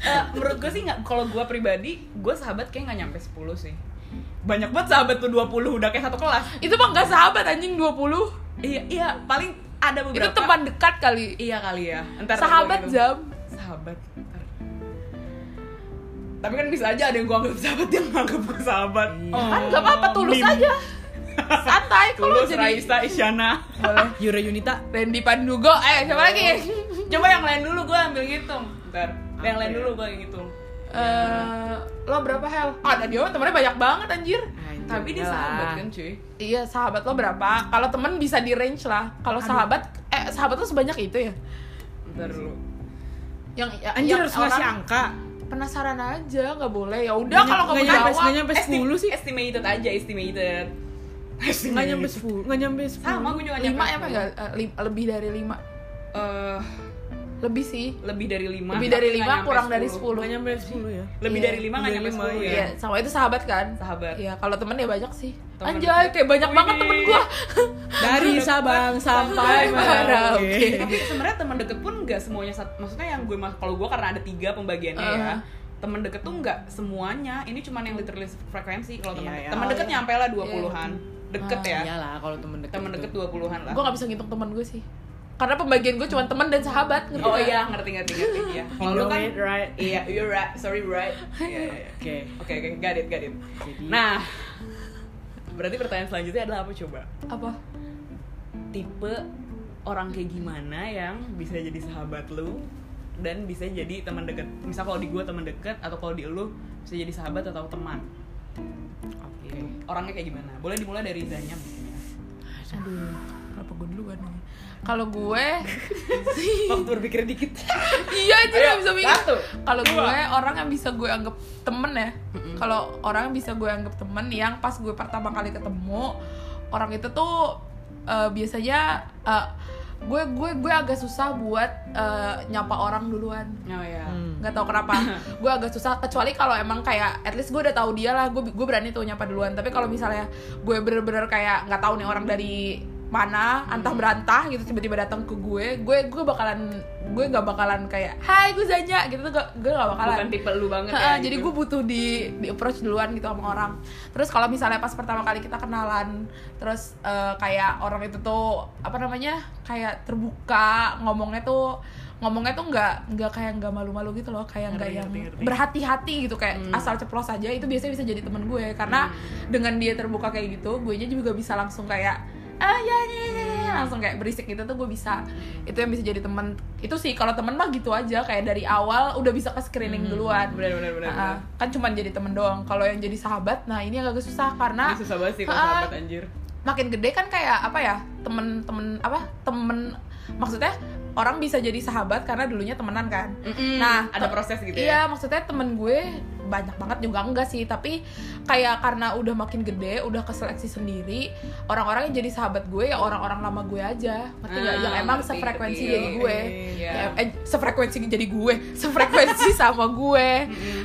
[SPEAKER 1] Eh, menurut gue sih nggak kalau gue pribadi gue sahabat kayak nggak nyampe 10 sih banyak banget sahabat tuh 20 udah kayak satu kelas
[SPEAKER 2] Itu mah nggak sahabat anjing 20
[SPEAKER 1] iya iya paling ada
[SPEAKER 2] Itu
[SPEAKER 1] beberapa
[SPEAKER 2] teman dekat kali
[SPEAKER 1] iya kali ya Ntar gua-
[SPEAKER 2] Sahabat jam
[SPEAKER 1] sahabat Ntar. tapi kan bisa aja ada yang gua anggap sahabat yang nganggap gua sahabat
[SPEAKER 3] Iya.
[SPEAKER 1] Oh,
[SPEAKER 2] Kan nggak apa-apa tulus
[SPEAKER 1] Mim.
[SPEAKER 2] aja Santai kalau
[SPEAKER 1] tulus
[SPEAKER 2] jadi
[SPEAKER 1] Raisa Isyana
[SPEAKER 2] Boleh
[SPEAKER 3] Yura Yunita
[SPEAKER 2] Randy Pandugo, eh siapa lagi?
[SPEAKER 1] coba yang lain dulu gua ambil ngitung ntar yang
[SPEAKER 3] Apa
[SPEAKER 1] lain
[SPEAKER 3] ya?
[SPEAKER 1] dulu gua yang ngitung
[SPEAKER 2] Eh, lo berapa Hel? Ah, Nadia mah temennya banyak banget anjir.
[SPEAKER 3] Anjir,
[SPEAKER 1] tapi dia
[SPEAKER 3] lah.
[SPEAKER 1] sahabat kan cuy
[SPEAKER 2] Iya, sahabat lo berapa? Kalau temen bisa di range lah. Kalau sahabat, eh sahabat lo sebanyak itu ya?
[SPEAKER 1] ntar dulu
[SPEAKER 2] Yang ya-
[SPEAKER 3] Anjir
[SPEAKER 2] yang
[SPEAKER 3] harus ngasih
[SPEAKER 2] orang
[SPEAKER 3] angka
[SPEAKER 2] Penasaran aja, nggak boleh. Ya udah
[SPEAKER 3] Nggak
[SPEAKER 2] kalau
[SPEAKER 3] nyampe-
[SPEAKER 2] kamu
[SPEAKER 3] nggak nyampe-
[SPEAKER 2] jawab.
[SPEAKER 3] nggak nyampe
[SPEAKER 1] Esti-
[SPEAKER 3] 10 sih
[SPEAKER 1] estimated aja estimated
[SPEAKER 3] Nggak
[SPEAKER 1] Estimated.
[SPEAKER 3] nyampe ya, 10 Nggak nyampe 10
[SPEAKER 1] sama gua juga
[SPEAKER 2] Lima
[SPEAKER 1] nyampe
[SPEAKER 2] emang nggak? Eh, lim- lebih dari lima.
[SPEAKER 1] Eh,
[SPEAKER 2] Lebih sih.
[SPEAKER 1] lebih dari lima
[SPEAKER 2] Lebih
[SPEAKER 1] tapi
[SPEAKER 2] dari
[SPEAKER 1] nggak
[SPEAKER 2] lima,
[SPEAKER 1] nyampe
[SPEAKER 2] kurang dari
[SPEAKER 1] 10.
[SPEAKER 2] sepuluh.
[SPEAKER 3] Nggak nyampe 10 ya
[SPEAKER 1] lebih
[SPEAKER 2] Iya.
[SPEAKER 1] dari lima nggak
[SPEAKER 3] Dari
[SPEAKER 1] nyampe
[SPEAKER 3] lima,
[SPEAKER 1] sepuluh
[SPEAKER 3] iya.
[SPEAKER 1] ya
[SPEAKER 2] Iya, sama itu sahabat kan?
[SPEAKER 1] sahabat
[SPEAKER 2] Iya, kalau temen ya banyak sih.
[SPEAKER 1] Temen.
[SPEAKER 2] Anjay, kayak banyak
[SPEAKER 1] Wih.
[SPEAKER 2] banget temen gua.
[SPEAKER 3] Dari Sabang sampai Merauke
[SPEAKER 2] Merauke.
[SPEAKER 1] tapi sebenarnya teman deket pun nggak semuanya sat- maksudnya yang gue mas kalau gue karena ada tiga pembagiannya ya
[SPEAKER 3] Iya.
[SPEAKER 2] Uh.
[SPEAKER 1] teman deket tuh nggak semuanya ini cuman yang literally frekuensi kalau teman
[SPEAKER 3] Iya,
[SPEAKER 1] deket
[SPEAKER 3] iya.
[SPEAKER 1] teman deket nyampe lah 20-an deket
[SPEAKER 2] Ah,
[SPEAKER 1] ya
[SPEAKER 3] Iyalah kalau temen deket gitu.
[SPEAKER 1] teman deket 20-an lah
[SPEAKER 2] gue gak bisa ngitung teman gue sih karena pembagian gue cuma teman dan sahabat ngerti
[SPEAKER 1] oh
[SPEAKER 2] nggak?
[SPEAKER 1] iya ngerti ngerti ngerti iya kalau lu
[SPEAKER 3] You
[SPEAKER 1] kan
[SPEAKER 3] know it, right?
[SPEAKER 1] iya you're right sorry right Iya, iya.
[SPEAKER 3] Oke
[SPEAKER 1] oke oke got it got it
[SPEAKER 3] Jadi
[SPEAKER 1] nah berarti pertanyaan selanjutnya adalah apa coba
[SPEAKER 2] apa
[SPEAKER 1] tipe orang kayak gimana yang bisa jadi sahabat lu dan bisa jadi teman dekat. Misal kalau di gua teman dekat atau kalau di lu bisa jadi sahabat atau teman. Oke. Orangnya kayak gimana? Boleh dimulai dari Zanya mungkin ya.
[SPEAKER 2] aduh kenapa gue duluan nih? kalau gue
[SPEAKER 1] Waktu berpikir dikit.
[SPEAKER 2] iya aja
[SPEAKER 1] Ayo,
[SPEAKER 2] gak bisa mikir
[SPEAKER 1] satu,
[SPEAKER 2] kalau
[SPEAKER 1] dua.
[SPEAKER 2] gue orang yang bisa gue anggap temen ya kalau orang yang bisa gue anggap temen yang pas gue pertama kali ketemu orang itu tuh eh, biasanya eh, gue gue gue agak susah buat eh, nyapa orang duluan
[SPEAKER 1] Oh ya.
[SPEAKER 3] Hmm.
[SPEAKER 2] nggak tahu kenapa gue agak susah kecuali kalau emang kayak at least gue udah tahu dia lah gue gue berani tuh nyapa duluan tapi kalau misalnya gue bener-bener kayak nggak tahu nih orang dari mana antah berantah gitu tiba-tiba datang ke gue gue gue bakalan gue nggak bakalan kayak hai gue Zanya gitu tuh gak, gue nggak bakalan
[SPEAKER 1] Bukan tipe lu banget ya.
[SPEAKER 2] Heeh, jadi
[SPEAKER 1] gitu.
[SPEAKER 2] gue butuh di di approach duluan gitu sama orang terus kalau misalnya pas pertama kali kita kenalan terus eh, kayak orang itu tuh apa namanya kayak terbuka ngomongnya tuh ngomongnya tuh nggak nggak kayak nggak malu-malu gitu loh kayak nggak
[SPEAKER 1] Ngerti,
[SPEAKER 2] yang
[SPEAKER 1] ngerti, ngerti.
[SPEAKER 2] berhati-hati gitu kayak
[SPEAKER 1] Hmm.
[SPEAKER 2] asal ceplos aja itu biasanya bisa jadi temen gue karena dengan dia terbuka kayak gitu gue juga bisa langsung kayak ah ya ya, ya, ya," langsung kayak berisik gitu tuh gue bisa
[SPEAKER 1] Hmm.
[SPEAKER 2] itu yang bisa jadi temen itu sih kalau temen mah gitu aja kayak dari awal udah bisa ke
[SPEAKER 1] Hmm.
[SPEAKER 2] screening duluan
[SPEAKER 1] benar benar benar.
[SPEAKER 2] Ah, ah. kan cuman jadi temen doang kalau yang jadi sahabat nah ini agak susah karena
[SPEAKER 1] Ini susah banget sih kalau
[SPEAKER 2] Ah.
[SPEAKER 1] sahabat anjir.
[SPEAKER 2] makin gede kan kayak apa ya temen-temen apa temen maksudnya orang bisa jadi sahabat karena dulunya temenan kan Nah,
[SPEAKER 1] ada
[SPEAKER 2] te-
[SPEAKER 1] proses gitu
[SPEAKER 2] iya
[SPEAKER 1] ya.
[SPEAKER 2] maksudnya temen gue banyak banget juga enggak sih tapi kayak karena udah makin gede udah keseleksi sendiri orang-orang yang jadi sahabat gue ya orang-orang lama gue aja ngerti nggak?
[SPEAKER 1] Ah,
[SPEAKER 2] yang emang
[SPEAKER 1] ngerti,
[SPEAKER 2] sefrekuensi
[SPEAKER 1] ngerti.
[SPEAKER 2] jadi gue
[SPEAKER 1] Iya.
[SPEAKER 2] Ya, eh, sefrekuensi jadi gue sefrekuensi sama gue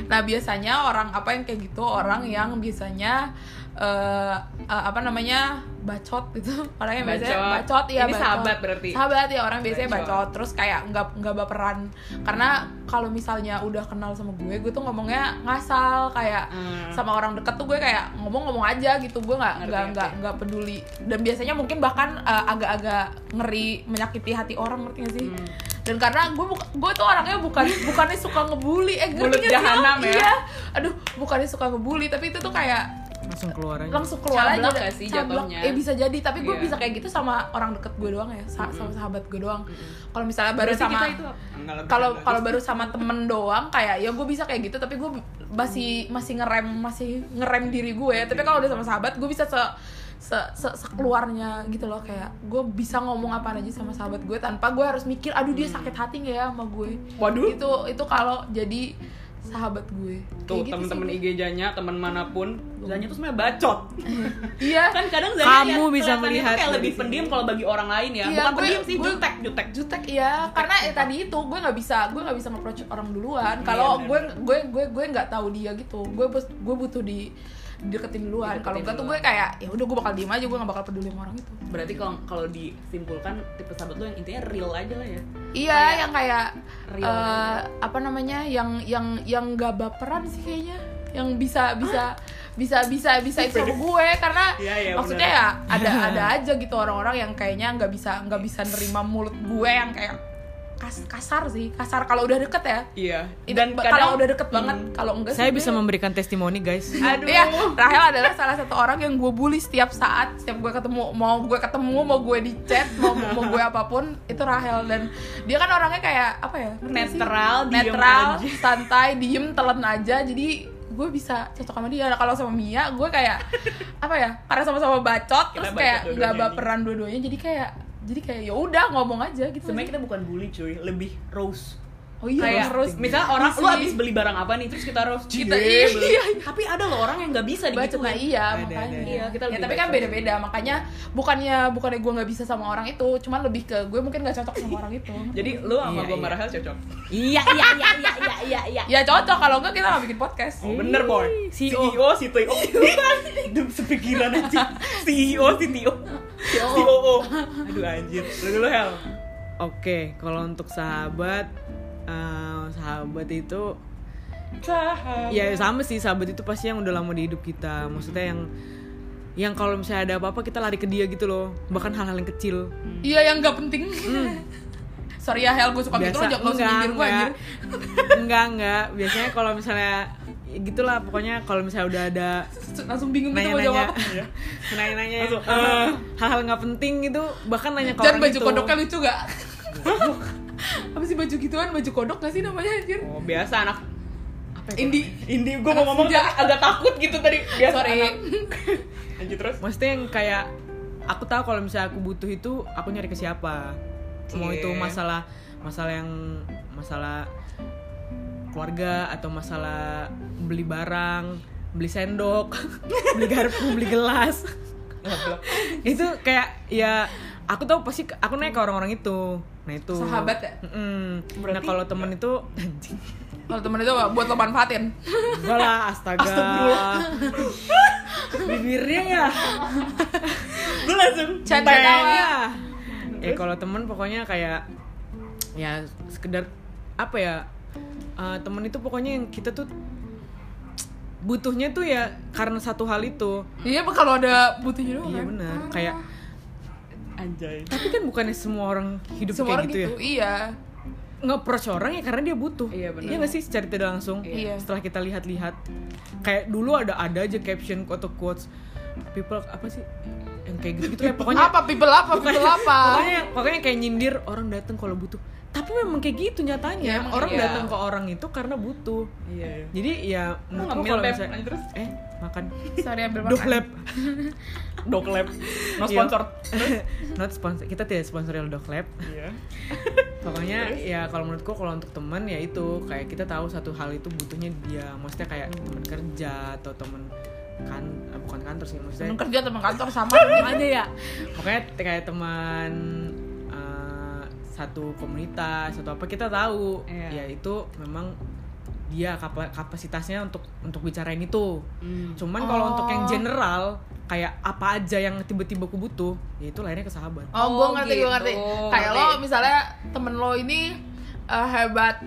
[SPEAKER 2] nah biasanya orang apa yang kayak gitu orang yang biasanya eh, eh, apa namanya bacot gitu orang yang biasanya
[SPEAKER 1] Bacot.
[SPEAKER 2] bacot ya
[SPEAKER 1] Ini sahabat berarti.
[SPEAKER 2] sahabat ya orang biasanya
[SPEAKER 1] Bacot.
[SPEAKER 2] bacot terus kayak nggak nggak baperan karena kalau misalnya udah kenal sama gue gue tuh ngomongnya ngasal kayak
[SPEAKER 1] Hmm.
[SPEAKER 2] sama orang deket tuh gue kayak ngomong-ngomong aja gitu gue nggak
[SPEAKER 1] Ngerti,
[SPEAKER 2] nggak
[SPEAKER 1] ngerti.
[SPEAKER 2] nggak nggak peduli dan biasanya mungkin bahkan eh, agak-agak ngeri menyakiti hati orang ngerti gak sih
[SPEAKER 1] Hmm.
[SPEAKER 2] dan karena gue buka- gue tuh orangnya bukan bukannya suka ngebully eh ngerti
[SPEAKER 1] Mulut
[SPEAKER 2] nggak sih lo?
[SPEAKER 1] jahanam ya.
[SPEAKER 2] iya aduh bukannya suka ngebully tapi itu tuh kayak
[SPEAKER 3] Langsung keluar aja
[SPEAKER 2] langsung keluar
[SPEAKER 1] Cablak
[SPEAKER 2] aja
[SPEAKER 1] gak sih
[SPEAKER 2] Cablak.
[SPEAKER 1] jatuhnya?
[SPEAKER 2] eh bisa jadi tapi gue
[SPEAKER 1] Iya.
[SPEAKER 2] bisa kayak gitu sama orang deket gue doang ya sa- sama sahabat gue doang kalau misalnya baru
[SPEAKER 1] Berarti
[SPEAKER 2] sama
[SPEAKER 1] kita itu Enggak lah,
[SPEAKER 2] kalau
[SPEAKER 1] bercanda.
[SPEAKER 2] kalau baru sama temen doang kayak ya gue bisa kayak gitu tapi gue masih masih ngerem masih ngerem diri gue tapi kalau udah sama sahabat gue bisa se se, se- sekeluarnya gitu loh kayak gue bisa ngomong apa aja sama sahabat gue tanpa gue harus mikir aduh dia sakit hati nggak ya sama gue
[SPEAKER 1] Waduh.
[SPEAKER 2] itu itu kalau jadi sahabat gue Kayak
[SPEAKER 1] tuh
[SPEAKER 2] gitu
[SPEAKER 1] temen-temen
[SPEAKER 2] sih.
[SPEAKER 1] IG Janya, teman manapun, Zanya tuh sebenarnya bacot.
[SPEAKER 2] iya
[SPEAKER 1] kan kadang Zanya
[SPEAKER 3] Kamu
[SPEAKER 1] ya,
[SPEAKER 3] bisa
[SPEAKER 1] kelihatannya
[SPEAKER 3] melihat
[SPEAKER 1] tuh kayak
[SPEAKER 3] dari
[SPEAKER 1] lebih
[SPEAKER 3] sini.
[SPEAKER 1] pendiam kalau bagi orang lain ya
[SPEAKER 2] Iya,
[SPEAKER 1] bukan
[SPEAKER 2] gue-
[SPEAKER 1] pendiam sih
[SPEAKER 2] gue-
[SPEAKER 1] jutek jutek
[SPEAKER 2] jutek ya karena eh, tadi itu gue nggak bisa gue nggak bisa nge-approach orang duluan
[SPEAKER 1] Iya,
[SPEAKER 2] kalau
[SPEAKER 1] bener.
[SPEAKER 2] gue gue gue gue nggak tahu dia gitu gue bus- gue butuh di deketin duluan
[SPEAKER 1] Dideketin
[SPEAKER 2] kalau enggak tuh gue
[SPEAKER 1] duluan.
[SPEAKER 2] kayak ya udah gue bakal diem aja gue nggak bakal peduli sama orang itu
[SPEAKER 1] berarti kalau kalau disimpulkan tipe sahabat lu yang intinya real aja lah ya
[SPEAKER 2] iya yang kayak
[SPEAKER 1] real
[SPEAKER 2] eh,
[SPEAKER 1] aja.
[SPEAKER 2] apa namanya yang yang yang nggak baperan sih kayaknya yang bisa bisa bisa bisa bisa itu sama gue karena
[SPEAKER 1] Iya, iya,
[SPEAKER 2] maksudnya
[SPEAKER 1] bener.
[SPEAKER 2] ya ada ada aja gitu orang-orang yang kayaknya nggak bisa nggak bisa nerima mulut gue yang kayak kas- kasar sih kasar kalau udah deket ya
[SPEAKER 1] Iya.
[SPEAKER 2] Itu ba- kalau udah deket banget kalau enggak
[SPEAKER 3] Saya
[SPEAKER 2] sih
[SPEAKER 3] bisa
[SPEAKER 2] gue-
[SPEAKER 3] memberikan testimoni guys.
[SPEAKER 1] Aduh.
[SPEAKER 2] Iya, Rahel adalah salah satu orang yang gue bully setiap saat, setiap gue ketemu, mau gue ketemu, mau gue di chat, mau mau gue apapun, itu Rahel dan dia kan orangnya kayak apa ya? ngerti gak sih?
[SPEAKER 1] Netral, diem
[SPEAKER 2] netral,
[SPEAKER 1] aja.
[SPEAKER 2] santai, diem, telan aja. Jadi gue bisa cocok sama dia. Nah, kalau sama Mia, gue kayak apa ya? Karena sama-sama bacot,
[SPEAKER 1] Kita
[SPEAKER 2] terus
[SPEAKER 1] bacot
[SPEAKER 2] kayak
[SPEAKER 1] dua-duanya
[SPEAKER 2] nggak
[SPEAKER 1] nih.
[SPEAKER 2] baperan dua-duanya, jadi kayak jadi kayak ya udah ngomong aja gitu.
[SPEAKER 1] Sebenarnya kita bukan bully cuy, lebih roast.
[SPEAKER 2] oh iya
[SPEAKER 1] kayak
[SPEAKER 2] terus
[SPEAKER 1] misal orang lu
[SPEAKER 2] Isi.
[SPEAKER 1] habis beli barang apa nih terus kita roast kita
[SPEAKER 2] Kita-
[SPEAKER 1] iya,
[SPEAKER 2] iya.
[SPEAKER 1] beli. tapi ada loh orang yang nggak bisa
[SPEAKER 2] bacot
[SPEAKER 1] digituin
[SPEAKER 2] nah iya
[SPEAKER 3] Ada,
[SPEAKER 2] makanya
[SPEAKER 3] ada, ada.
[SPEAKER 1] Iya, kita
[SPEAKER 2] ya
[SPEAKER 1] lebih gitu.
[SPEAKER 2] tapi kan
[SPEAKER 1] bacot.
[SPEAKER 2] beda-beda makanya bukannya bukannya gue nggak bisa sama orang itu cuman lebih ke gue mungkin nggak cocok sama orang itu
[SPEAKER 1] jadi lu sama
[SPEAKER 3] Iya,
[SPEAKER 1] gua
[SPEAKER 3] iya.
[SPEAKER 1] marahel cocok
[SPEAKER 3] iya iya iya iya iya iya. iya.
[SPEAKER 2] ya cocok kalau enggak kita nggak bikin podcast
[SPEAKER 1] oh, bener boy E
[SPEAKER 3] CEO.
[SPEAKER 1] CEO CTO Duh, sepikiran E aja CEO CTO E COO aduh anjir lu dulu hel
[SPEAKER 3] Oke, kalau untuk sahabat eh, sahabat itu
[SPEAKER 1] Eh.
[SPEAKER 3] ya sama sih sahabat itu pasti yang udah lama di hidup kita. Maksudnya yang yang kalau misalnya ada apa-apa kita lari ke dia gitu loh. Bahkan hal-hal yang kecil.
[SPEAKER 2] iya yang nggak penting sorry ya Hel gue suka gitu lo jangan lo
[SPEAKER 3] Hmm. enggak,
[SPEAKER 2] nyindir gue
[SPEAKER 3] enggak.
[SPEAKER 2] anjir
[SPEAKER 3] enggak enggak biasanya kalau misalnya ya gitulah pokoknya kalau misalnya udah ada
[SPEAKER 2] langsung bingung gitu mau
[SPEAKER 3] nanya-nanya Iya.
[SPEAKER 2] jawab apa
[SPEAKER 3] nanya-nanya yang
[SPEAKER 1] Langsung,
[SPEAKER 3] hal- hal-hal nggak penting gitu bahkan nanya ke
[SPEAKER 2] dan
[SPEAKER 3] orang gitu.
[SPEAKER 2] baju
[SPEAKER 3] itu.
[SPEAKER 2] kodoknya lucu gak apa sih baju gituan baju kodok gak sih namanya anjir
[SPEAKER 1] oh biasa anak
[SPEAKER 2] Indi
[SPEAKER 1] Indi gua mau ngomong
[SPEAKER 2] Senja.
[SPEAKER 1] tapi agak takut gitu tadi
[SPEAKER 3] Iya.
[SPEAKER 1] biasa
[SPEAKER 2] sorry
[SPEAKER 1] anak lanjut terus
[SPEAKER 3] maksudnya yang kayak aku tahu kalau misalnya aku butuh itu aku nyari ke siapa mau
[SPEAKER 1] Iya.
[SPEAKER 3] itu masalah masalah yang masalah keluarga atau masalah beli barang beli sendok beli garpu beli gelas itu kayak ya aku tahu pasti aku naik ke orang-orang itu nah itu
[SPEAKER 2] Sahabat ya?
[SPEAKER 3] Mm-mm. nah
[SPEAKER 1] Berarti-
[SPEAKER 3] kalau temen itu anjing
[SPEAKER 2] kalau temen itu apa? buat lo manfaatin
[SPEAKER 3] Enggak lah, astaga.
[SPEAKER 1] Astagfirullah.
[SPEAKER 3] Bibirnya ya.
[SPEAKER 1] gua langsung
[SPEAKER 2] Canda
[SPEAKER 1] bang.
[SPEAKER 2] tawa.
[SPEAKER 3] Ya. Ya kalau temen pokoknya kayak ya sekedar apa ya? eh, temen itu pokoknya yang kita tuh butuhnya tuh ya karena satu hal itu.
[SPEAKER 2] iya kalau ada butuhnya doang
[SPEAKER 3] Iya
[SPEAKER 2] kan?
[SPEAKER 3] benar. Kayak
[SPEAKER 1] anjay
[SPEAKER 3] tapi kan bukannya semua orang hidup
[SPEAKER 2] semua orang
[SPEAKER 3] kayak gitu,
[SPEAKER 2] gitu,
[SPEAKER 3] ya.
[SPEAKER 2] iya
[SPEAKER 3] Nge-approach orang ya karena dia butuh.
[SPEAKER 1] Iya, benar.
[SPEAKER 3] nggak sih secara tidak langsung.
[SPEAKER 2] Iya.
[SPEAKER 3] Setelah kita lihat-lihat kayak dulu ada ada aja caption atau quotes people apa sih yang kayak gitu gitu ya pokoknya
[SPEAKER 2] apa people apa people apa
[SPEAKER 3] pokoknya pokoknya kayak nyindir orang datang kalau butuh tapi memang kayak gitu
[SPEAKER 2] Ya,
[SPEAKER 3] nyatanya
[SPEAKER 2] emang
[SPEAKER 3] orang
[SPEAKER 2] iya.
[SPEAKER 3] datang ke orang itu karena butuh
[SPEAKER 1] iya iya
[SPEAKER 3] jadi ya menurutku
[SPEAKER 1] ngambil,
[SPEAKER 3] kalau
[SPEAKER 1] Beb.
[SPEAKER 3] misalnya
[SPEAKER 1] Lanjut terus.
[SPEAKER 3] eh makan
[SPEAKER 2] sorry ambil makan
[SPEAKER 3] doklep
[SPEAKER 1] doklep no
[SPEAKER 3] Iya.
[SPEAKER 1] sponsor
[SPEAKER 3] not sponsor kita tidak sponsoril doklep
[SPEAKER 1] iya
[SPEAKER 3] pokoknya ya kalau menurutku kalau untuk teman ya itu kayak kita tahu satu hal itu butuhnya dia maksudnya kayak
[SPEAKER 2] Hmm.
[SPEAKER 3] teman kerja atau teman kan eh, bukan kantor sih maksudnya
[SPEAKER 2] temen kerja temen kantor sama sama aja ya
[SPEAKER 3] pokoknya t- kayak teman eh, satu komunitas atau apa kita tahu
[SPEAKER 1] Iya.
[SPEAKER 3] ya itu memang dia kapa- kapasitasnya untuk untuk bicarain itu
[SPEAKER 1] Hmm.
[SPEAKER 3] cuman kalau untuk yang
[SPEAKER 2] Oh.
[SPEAKER 3] general kayak apa aja yang tiba-tiba aku butuh ya itu lahirnya ke sahabat
[SPEAKER 2] oh, gue ngerti gue
[SPEAKER 1] gitu.
[SPEAKER 2] ngerti kayak lo
[SPEAKER 1] Ngerti.
[SPEAKER 2] misalnya temen lo ini eh, hebat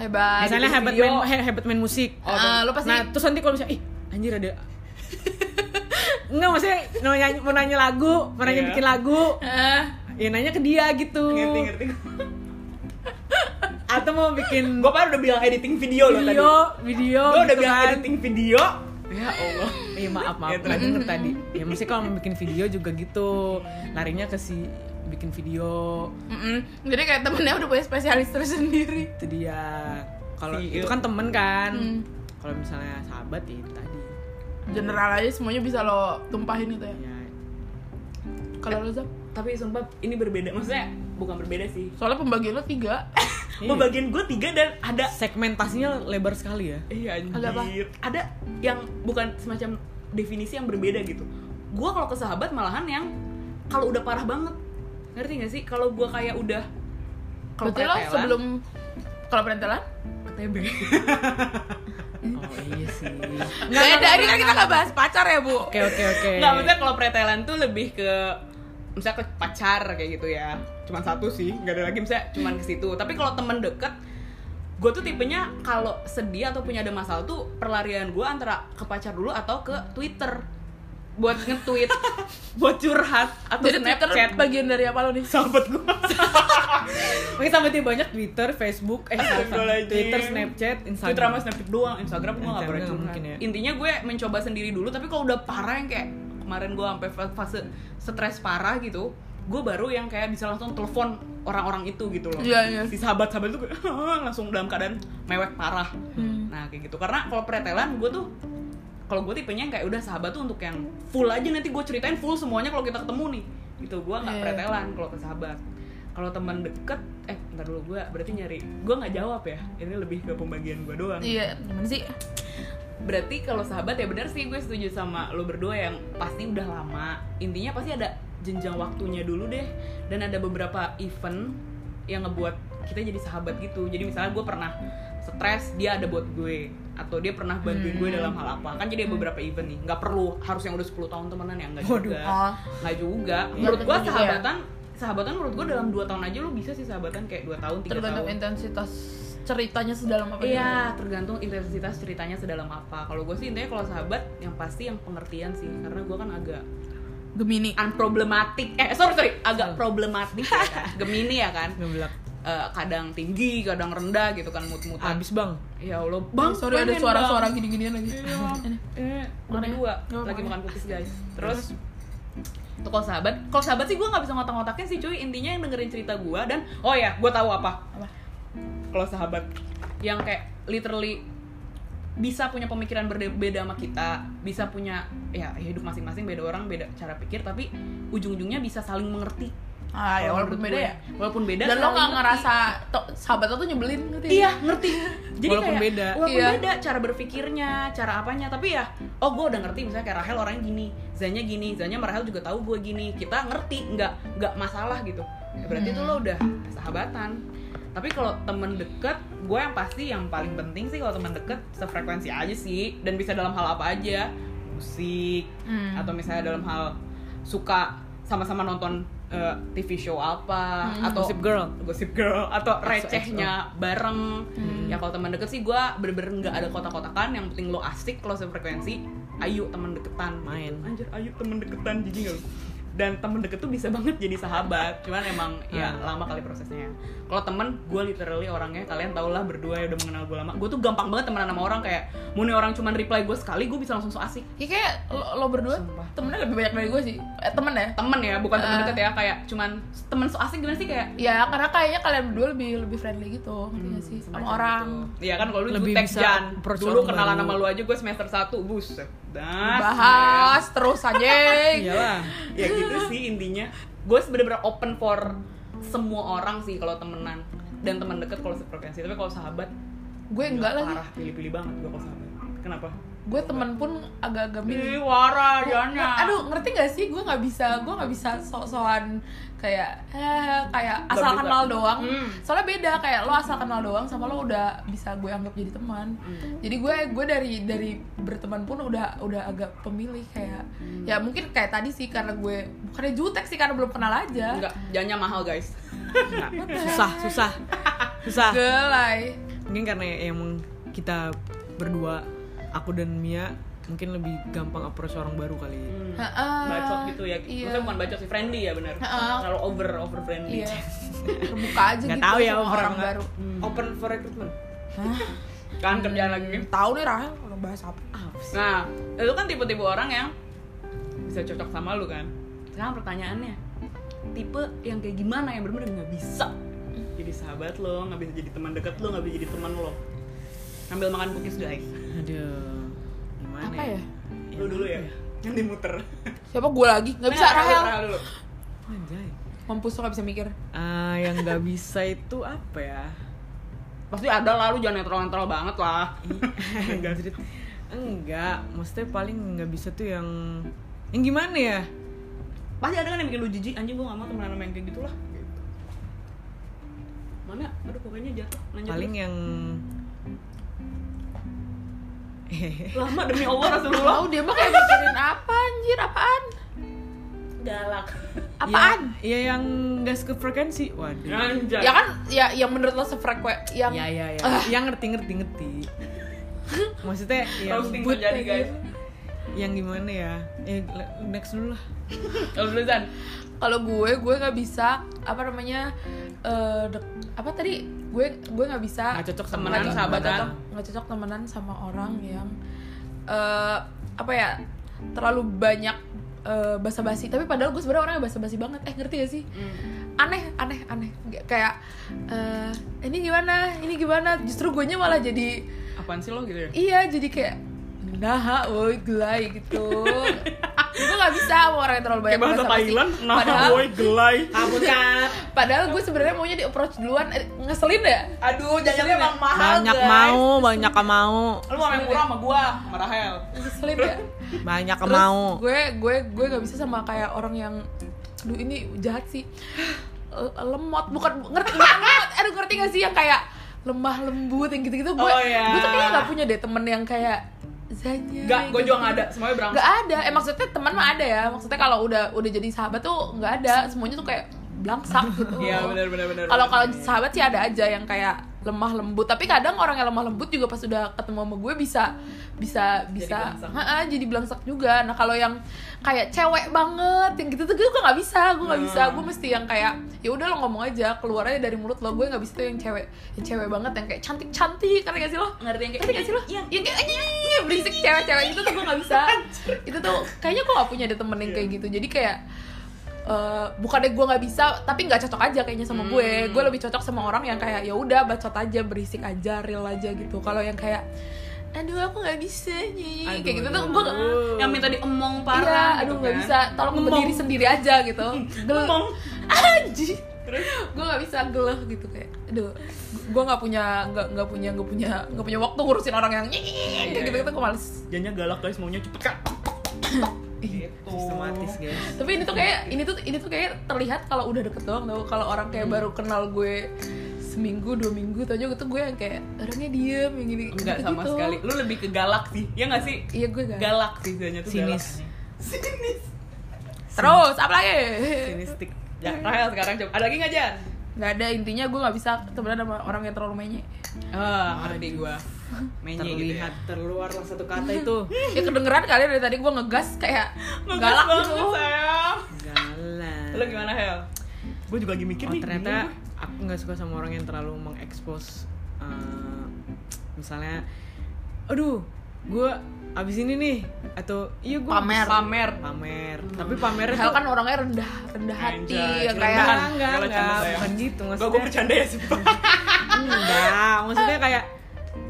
[SPEAKER 2] hebat
[SPEAKER 3] misalnya
[SPEAKER 1] bikin
[SPEAKER 3] hebat
[SPEAKER 1] video.
[SPEAKER 3] main he- hebat main musik
[SPEAKER 2] Oh, Ah, lu pasti-
[SPEAKER 3] nah terus nanti kalau misalnya ih anjir ada Enggak, maksudnya mau nyanyi, mau nanya lagu, mau nanya
[SPEAKER 1] Iya.
[SPEAKER 3] bikin lagu,
[SPEAKER 2] Eh,
[SPEAKER 3] ya nanya ke dia gitu.
[SPEAKER 1] ngerti ngerti
[SPEAKER 3] Atau mau bikin
[SPEAKER 1] gua kan udah bilang editing video lo tadi
[SPEAKER 3] video video
[SPEAKER 1] Gue udah
[SPEAKER 3] gitu
[SPEAKER 1] bilang
[SPEAKER 3] kan.
[SPEAKER 1] editing video.
[SPEAKER 3] ya Allah iya maaf maaf
[SPEAKER 1] Ya,
[SPEAKER 3] nggak denger tadi ya mesti kalau mau bikin video juga gitu larinya ke si bikin video
[SPEAKER 2] mm-mm. jadi kayak temennya udah punya spesialis tersendiri
[SPEAKER 3] itu dia kalau
[SPEAKER 1] Si-
[SPEAKER 3] itu kan temen kan
[SPEAKER 2] Hmm.
[SPEAKER 3] kalau misalnya sahabat ya itu tadi
[SPEAKER 2] general aja semuanya bisa lo tumpahin gitu ya
[SPEAKER 3] ya
[SPEAKER 2] kalau lo Zap.
[SPEAKER 1] Tapi sumpah ini berbeda. Maksudnya bukan berbeda sih.
[SPEAKER 2] soalnya pembagian lo tiga
[SPEAKER 3] Iya.
[SPEAKER 1] Pembagian gue tiga dan ada
[SPEAKER 3] segmentasinya lebar sekali ya
[SPEAKER 1] Iya anjir.
[SPEAKER 2] Ada apa?
[SPEAKER 1] Ada yang bukan semacam definisi yang berbeda gitu. Gue kalau ke sahabat malahan yang kalau udah parah banget. Ngerti gak sih? Kalau gue kayak udah kalau
[SPEAKER 2] berarti lo
[SPEAKER 1] pretelan,
[SPEAKER 2] sebelum kalau perentelan
[SPEAKER 1] KTB.
[SPEAKER 3] oh iya sih
[SPEAKER 2] beda ini kan kita nggak bahas pacar ya bu
[SPEAKER 3] oke oke oke
[SPEAKER 1] Nggak, maksudnya kalau pretelan tuh lebih ke misalnya ke pacar kayak gitu ya. Cuman satu sih, nggak ada lagi misalnya cuman ke situ. Tapi kalau teman deket gue tuh tipenya kalau sedih atau punya ada masalah tuh perlarian gue antara ke pacar dulu atau ke Twitter buat nge-tweet, buat curhat atau
[SPEAKER 2] Jadi Twitter
[SPEAKER 1] Snapchat.
[SPEAKER 2] bagian dari apa lo nih?
[SPEAKER 1] Sahabat gue.
[SPEAKER 3] Oke, sahabatnya banyak Twitter, Facebook, eh salah, salah.
[SPEAKER 1] Astagfirullahaladzim.
[SPEAKER 3] Twitter, Snapchat, Instagram.
[SPEAKER 1] Twitter sama Snapchat doang, Instagram gue gak
[SPEAKER 3] Instagram
[SPEAKER 1] pernah
[SPEAKER 3] nggak
[SPEAKER 1] curhat.
[SPEAKER 3] mungkin ya.
[SPEAKER 1] Intinya gue mencoba sendiri dulu, tapi kalau udah parah yang kayak kemarin gue sampai fa- fase stres parah gitu, gue baru yang kayak bisa langsung telepon orang-orang itu gitu loh.
[SPEAKER 2] Iya, iya.
[SPEAKER 1] Si sahabat-sahabat itu gue langsung dalam keadaan mewek parah.
[SPEAKER 2] Hmm.
[SPEAKER 1] Nah kayak gitu, karena kalau pretelan gue tuh kalau gue tipenya yang kayak udah sahabat tuh untuk yang full aja nanti gue ceritain full semuanya kalau kita ketemu nih gitu gue nggak
[SPEAKER 2] Iya.
[SPEAKER 1] pretelan kalau ke sahabat kalau teman deket eh ntar dulu gue berarti nyari gue nggak jawab ya ini lebih ke pembagian gue doang
[SPEAKER 2] Iya, gimana sih?
[SPEAKER 1] berarti kalau sahabat ya benar sih gue setuju sama lo berdua yang pasti udah lama intinya pasti ada jenjang waktunya dulu deh dan ada beberapa event yang ngebuat kita jadi sahabat gitu jadi misalnya gue pernah stres dia ada buat gue atau dia pernah bantuin
[SPEAKER 2] Hmm.
[SPEAKER 1] gue dalam hal apa kan jadi ada beberapa event nih nggak perlu harus yang udah 10 tahun temenan ya nggak
[SPEAKER 3] Waduh.
[SPEAKER 1] juga
[SPEAKER 2] Oh.
[SPEAKER 1] nggak juga
[SPEAKER 2] Iya.
[SPEAKER 1] menurut gue
[SPEAKER 2] Belum tentu juga ya.
[SPEAKER 1] sahabatan sahabatan menurut gue dalam 2 tahun aja lo bisa sih sahabatan kayak 2 tahun 3 tahun
[SPEAKER 2] Tergantung intensitas ceritanya sedalam apa gitu.
[SPEAKER 1] Iya, tergantung intensitas ceritanya sedalam apa. Kalau gue sih intinya kalau sahabat yang pasti yang pengertian sih,
[SPEAKER 2] Hmm.
[SPEAKER 1] karena gue kan agak
[SPEAKER 2] Gemini.
[SPEAKER 1] unproblematik. Eh, sorry sorry, agak
[SPEAKER 2] Hmm.
[SPEAKER 1] problematik ya kan. Gemini ya kan.
[SPEAKER 3] Ngeblak.
[SPEAKER 1] Eh, kadang tinggi, kadang rendah gitu kan mut-mutan.
[SPEAKER 3] Abis bang.
[SPEAKER 1] Ya Allah, bang.
[SPEAKER 2] Eh, Sorry ada
[SPEAKER 1] pengen,
[SPEAKER 2] suara-suara
[SPEAKER 1] Bang.
[SPEAKER 2] gini-ginian lagi. Ini.
[SPEAKER 1] Eh,
[SPEAKER 2] Mana?
[SPEAKER 1] berdua
[SPEAKER 2] Nggak apa-apa.
[SPEAKER 1] lagi makan cookies guys. Terus tuh kalau sahabat, kalau sahabat sih gue nggak bisa ngotak-ngotakin sih cuy. Intinya yang dengerin cerita gue dan oh ya, gue tahu apa
[SPEAKER 2] Apa?
[SPEAKER 1] kalau sahabat yang kayak literally bisa punya pemikiran berbeda sama kita, bisa punya ya hidup masing-masing beda orang, beda cara pikir, tapi ujung-ujungnya bisa saling mengerti.
[SPEAKER 2] Ah, ya walaupun beda ya.
[SPEAKER 1] Walaupun beda.
[SPEAKER 2] Dan lo
[SPEAKER 1] saling
[SPEAKER 2] nggak
[SPEAKER 1] ngerti.
[SPEAKER 2] ngerasa to- sahabat lo tuh nyebelin gitu
[SPEAKER 1] Iya, ngerti. Jadi
[SPEAKER 3] Walaupun
[SPEAKER 1] kayak,
[SPEAKER 3] beda.
[SPEAKER 1] Walaupun
[SPEAKER 2] Iya.
[SPEAKER 1] beda cara berpikirnya, cara apanya, tapi ya oh gue udah ngerti misalnya kayak Rahel orangnya gini, Zanya gini, Zanya sama Rahel juga tahu gue gini. Kita ngerti, nggak nggak masalah gitu. Ya, berarti itu lo udah sahabatan. Tapi kalau temen deket, gue yang pasti yang paling penting sih kalau temen deket sefrekuensi aja sih dan bisa dalam hal apa aja, musik
[SPEAKER 2] Hmm.
[SPEAKER 1] atau misalnya dalam hal suka sama-sama nonton eh, TV show apa
[SPEAKER 2] Hmm.
[SPEAKER 1] atau
[SPEAKER 3] Gossip Girl.
[SPEAKER 1] Gossip Girl atau recehnya bareng.
[SPEAKER 3] Hmm.
[SPEAKER 1] Ya kalau teman deket sih gue bener-bener nggak ada kotak-kotakan. Yang penting lo asik, lo sefrekuensi. Ayo teman deketan.
[SPEAKER 3] Main.
[SPEAKER 1] Anjir, ayo teman deketan jadi nggak? lu? Dan temen deket tuh bisa banget jadi sahabat. Cuman emang ya
[SPEAKER 3] Hmm.
[SPEAKER 1] lama kali prosesnya. Kalau temen, gue literally orangnya kalian tau lah berdua ya udah mengenal gue lama. Gue tuh gampang banget temenan sama orang kayak mau nih orang cuman reply gue sekali, gue bisa langsung so asik.
[SPEAKER 2] Ya kayak lo, lo berdua
[SPEAKER 1] Sumpah.
[SPEAKER 2] temennya lebih banyak dari gue sih. Eh, temen ya?
[SPEAKER 1] Temen ya, bukan temen
[SPEAKER 2] Eh.
[SPEAKER 1] deket ya. Kayak cuman temen so asik gimana sih kayak
[SPEAKER 2] Ya karena kayaknya kalian berdua lebih lebih friendly gitu, ngerti gak sih? Sama gitu.
[SPEAKER 1] Semacam
[SPEAKER 2] orang.
[SPEAKER 1] itu. Iya kan kalau lu
[SPEAKER 3] Lebih
[SPEAKER 1] Lebih
[SPEAKER 3] bisa
[SPEAKER 1] Jan.
[SPEAKER 3] approach
[SPEAKER 1] Dulu
[SPEAKER 3] orang
[SPEAKER 1] kenalan
[SPEAKER 3] baru.
[SPEAKER 1] sama lu aja gue semester 1, bus. Das.
[SPEAKER 2] Bahas terus aja.
[SPEAKER 3] Iyalah.
[SPEAKER 1] men. Ya gitu sih intinya. Gue sebenarnya open for semua orang sih kalau temenan dan teman deket kalau sefrekuensi. Tapi kalau sahabat
[SPEAKER 2] gue enggak
[SPEAKER 1] gila,
[SPEAKER 2] lagi.
[SPEAKER 1] Parah pilih-pilih banget gue kalau sahabat. Kenapa?
[SPEAKER 2] Gue temen pun agak-agak milih. Oh, eh,
[SPEAKER 1] Ih, warah, Jannya.
[SPEAKER 2] Aduh, ngerti gak sih? Gue nggak bisa, gue nggak bisa sok-sokan kayak eh, kayak
[SPEAKER 1] Nggak
[SPEAKER 2] asal
[SPEAKER 1] bisa.
[SPEAKER 2] kenal doang.
[SPEAKER 1] Hmm.
[SPEAKER 2] Soalnya beda kayak lo asal kenal doang sama lo udah bisa gue anggap jadi teman.
[SPEAKER 1] Hmm.
[SPEAKER 2] Jadi gue gue dari dari berteman pun udah udah agak pemilih kayak ya mungkin kayak tadi sih karena gue bukannya jutek sih karena belum kenal aja.
[SPEAKER 1] Enggak, Jannya mahal, guys.
[SPEAKER 3] Nggak. Susah, susah, susah.
[SPEAKER 2] Gelai.
[SPEAKER 3] Mungkin karena emang kita berdua, aku dan Mia mungkin lebih gampang approach orang baru kali.
[SPEAKER 1] Hmm.
[SPEAKER 2] Heeh.
[SPEAKER 1] Bacot gitu ya.
[SPEAKER 2] Eh, Iya.
[SPEAKER 1] Maksudnya bukan bacot sih friendly ya benar.
[SPEAKER 2] Ha-ha.
[SPEAKER 1] Terlalu over over friendly.
[SPEAKER 2] Iya. Terbuka aja
[SPEAKER 3] Nggak
[SPEAKER 2] gitu
[SPEAKER 3] tahu ya
[SPEAKER 2] sama
[SPEAKER 3] over
[SPEAKER 2] orang
[SPEAKER 3] nggak.
[SPEAKER 2] baru.
[SPEAKER 3] Open for recruitment.
[SPEAKER 1] Kan kerjaan lagi.
[SPEAKER 2] Tahu nih Rahel orang bahas apa?
[SPEAKER 1] Nah, lu kan tipe-tipe orang yang bisa cocok sama lu kan. Sekarang pertanyaannya, tipe yang kayak gimana yang bener-bener nggak bisa jadi sahabat lo, nggak bisa jadi teman dekat lo, nggak bisa jadi teman lo. Sambil makan cookies guys.
[SPEAKER 3] Aduh. Gimana
[SPEAKER 2] Apa ya?
[SPEAKER 1] Lu dulu ya, nanti muter.
[SPEAKER 2] Siapa gue lagi? Nggak bisa
[SPEAKER 1] Nah,
[SPEAKER 2] Rahel.
[SPEAKER 1] dulu.
[SPEAKER 3] Anjay.
[SPEAKER 2] Mampus lo nggak bisa mikir.
[SPEAKER 3] Ah, yang nggak bisa itu apa ya?
[SPEAKER 1] Pasti ada lah, lu jangan netral-netral banget lah.
[SPEAKER 3] Enggak. Enggak, maksudnya paling nggak bisa tuh yang yang gimana ya?
[SPEAKER 1] Pasti ada kan yang bikin lu jijik, anjing gua nggak mau temenan sama yang kayak gitu lah. Gitu. Mana? Aduh pokoknya jatuh. Nanya
[SPEAKER 3] Paling
[SPEAKER 2] ya.
[SPEAKER 3] yang
[SPEAKER 1] terus. lama demi Allah Rasulullah.
[SPEAKER 2] Tahu dia mah kayak mikirin apa anjir, apaan?
[SPEAKER 1] galak
[SPEAKER 2] Apaan?
[SPEAKER 3] Ya, ya yang gak sefrekuensi. Waduh.
[SPEAKER 1] Anjay.
[SPEAKER 2] Ya kan ya yang menurut lo sefrekuen yang
[SPEAKER 3] Ya ya ya.
[SPEAKER 2] Ah.
[SPEAKER 3] Yang ngerti ngerti ngerti. Maksudnya yang
[SPEAKER 1] roasting
[SPEAKER 3] but-
[SPEAKER 1] terjadi guys
[SPEAKER 3] yang gimana ya? Eh, le- next dulu lah.
[SPEAKER 1] kalau dulu Zan
[SPEAKER 2] kalau gue gue nggak bisa apa namanya eh, dek- apa tadi gue gue nggak bisa
[SPEAKER 3] Nggak cocok
[SPEAKER 1] temenan,
[SPEAKER 2] Ah, nggak cocok-
[SPEAKER 1] sahabatan.
[SPEAKER 2] nggak cocok- nggak cocok temenan sama orang yang eh, apa ya terlalu banyak eh, basa-basi tapi padahal gue sebenarnya orangnya basa-basi banget eh ngerti gak sih
[SPEAKER 1] Hmm.
[SPEAKER 2] aneh aneh aneh Nggak- kayak eh, ini gimana ini gimana justru gue nya malah jadi
[SPEAKER 1] apaan sih lo gitu ya
[SPEAKER 2] iya jadi kayak nah woi gelai gitu gue nggak bisa sama orang yang terlalu banyak basa-basi.
[SPEAKER 1] "Nah,
[SPEAKER 2] padahal
[SPEAKER 3] nah, gelai. Aku kan.
[SPEAKER 2] Padahal gue sebenarnya maunya di approach duluan eh, ngeselin ya.
[SPEAKER 1] aduh jajannya emang mahal
[SPEAKER 3] Banyak
[SPEAKER 1] guys.
[SPEAKER 3] mau, banyak yang mau,
[SPEAKER 1] lu mau yang murah sama gua sama Rahel
[SPEAKER 2] Ngeselin ya.
[SPEAKER 3] banyak yang
[SPEAKER 2] Terus
[SPEAKER 3] mau.
[SPEAKER 2] gue gue gue gak bisa sama kayak orang yang aduh ini jahat sih. Eh, lemot bukan ngerti bukan lemot. Aduh ngerti gak sih yang kayak lemah lembut yang gitu-gitu gue
[SPEAKER 1] Oh, iya.
[SPEAKER 2] gue tuh kayaknya gak punya deh temen yang kayak ya, gitu-" Zanya
[SPEAKER 1] Enggak, gua juga gak ada,
[SPEAKER 2] gitu-gitu.
[SPEAKER 1] semuanya berangkat
[SPEAKER 2] nggak ada eh maksudnya teman mah ada ya maksudnya kalau udah udah jadi sahabat tuh nggak ada semuanya tuh kayak blangsak gitu
[SPEAKER 1] Iya benar benar benar.
[SPEAKER 2] kalau kalau sahabat sih ada aja yang kayak lemah lembut tapi kadang orang yang lemah lembut juga pas udah ketemu sama gue bisa bisa bisa
[SPEAKER 1] belangsak.
[SPEAKER 2] Ha-ha, jadi belangsak juga nah kalau yang kayak cewek banget yang gitu tuh gue nggak bisa gue nggak bisa
[SPEAKER 1] Nah.
[SPEAKER 2] gue mesti yang kayak ya udah lo ngomong aja keluarnya dari mulut lo gue nggak bisa tuh yang cewek yang cewek banget yang kayak cantik cantik karena gak sih lo
[SPEAKER 1] ngerti yang gitu,
[SPEAKER 2] Ngerti gak sih lo?
[SPEAKER 1] Iya.
[SPEAKER 2] Yang kayak "Anjing," berisik cewek-cewek itu tuh gue gak bisa Itu tuh kayaknya gue gak punya ada temen yang
[SPEAKER 1] Iya.
[SPEAKER 2] kayak gitu Jadi kayak eh, bukannya gue nggak bisa tapi nggak cocok aja kayaknya sama
[SPEAKER 1] Hmm.
[SPEAKER 2] gue gue lebih cocok sama orang yang kayak ya udah bacot aja berisik aja real aja
[SPEAKER 1] Hmm.
[SPEAKER 2] gitu kalau yang kayak aduh aku nggak bisa nyi
[SPEAKER 3] Aduh,
[SPEAKER 2] kayak gitu tuh
[SPEAKER 3] aduh.
[SPEAKER 2] gue
[SPEAKER 1] yang minta diemong
[SPEAKER 2] iya
[SPEAKER 1] parah gitu
[SPEAKER 2] aduh nggak
[SPEAKER 1] kan.
[SPEAKER 2] bisa tolong
[SPEAKER 1] Ngomong.
[SPEAKER 2] berdiri sendiri aja gitu Gel-
[SPEAKER 1] Ngomong.
[SPEAKER 2] anjir
[SPEAKER 1] Terus?
[SPEAKER 2] gue nggak bisa geleh gitu kayak aduh gue nggak punya nggak nggak punya nggak punya nggak punya waktu ngurusin orang yang
[SPEAKER 1] Iya,
[SPEAKER 2] nyeng kayak gitu gitu gue males
[SPEAKER 3] Jadinya galak guys, maunya cepet kak.
[SPEAKER 1] Gitu.
[SPEAKER 3] Sistematis guys.
[SPEAKER 2] tapi ini tuh kayak ini tuh ini tuh kayak terlihat kalau udah deket doang tau kalau orang
[SPEAKER 1] Hmm.
[SPEAKER 2] kayak baru kenal gue seminggu dua minggu tau juga tuh gue yang kayak orangnya diem yang gini
[SPEAKER 1] Enggak sama
[SPEAKER 2] gitu-gitu.
[SPEAKER 1] sekali. Lu lebih ke galak sih. Ya enggak sih?
[SPEAKER 2] iya gue gak
[SPEAKER 1] Galak sih jadinya tuh galak.
[SPEAKER 3] Sinis.
[SPEAKER 1] Sinis.
[SPEAKER 2] terus apa lagi
[SPEAKER 3] Sinistik.
[SPEAKER 1] Ya, Rahel sekarang coba. Ada lagi enggak, Jan?
[SPEAKER 2] nggak ada intinya gue nggak bisa temenan sama orang yang terlalu mainnya
[SPEAKER 1] Ah, ngerti gua. Mainnya gitu ya.
[SPEAKER 3] Terlihat terluarlah satu kata itu.
[SPEAKER 2] ya kedengeran kali dari tadi gue ngegas kayak
[SPEAKER 1] Ngegas
[SPEAKER 2] galak
[SPEAKER 1] banget,
[SPEAKER 2] gitu
[SPEAKER 1] sayang.
[SPEAKER 3] Galak.
[SPEAKER 1] Lu gimana, Hel? Gue juga lagi mikir
[SPEAKER 3] Oh ternyata aku nggak suka sama orang yang terlalu mengekspos eh, misalnya, aduh, gue abis ini nih atau iya gue
[SPEAKER 2] Pamer.
[SPEAKER 1] pamer.
[SPEAKER 3] pamer, tapi pamernya
[SPEAKER 2] Hal
[SPEAKER 3] tuh
[SPEAKER 2] kan orangnya rendah rendah hati
[SPEAKER 1] Anjay,
[SPEAKER 2] yang
[SPEAKER 3] enggak
[SPEAKER 2] kayak
[SPEAKER 1] rendahan.
[SPEAKER 3] enggak
[SPEAKER 1] Kalau
[SPEAKER 3] enggak,
[SPEAKER 1] canda saya.
[SPEAKER 3] bukan gitu
[SPEAKER 1] Gua gue
[SPEAKER 3] maksudnya
[SPEAKER 1] bercanda ya sih.
[SPEAKER 3] enggak maksudnya kayak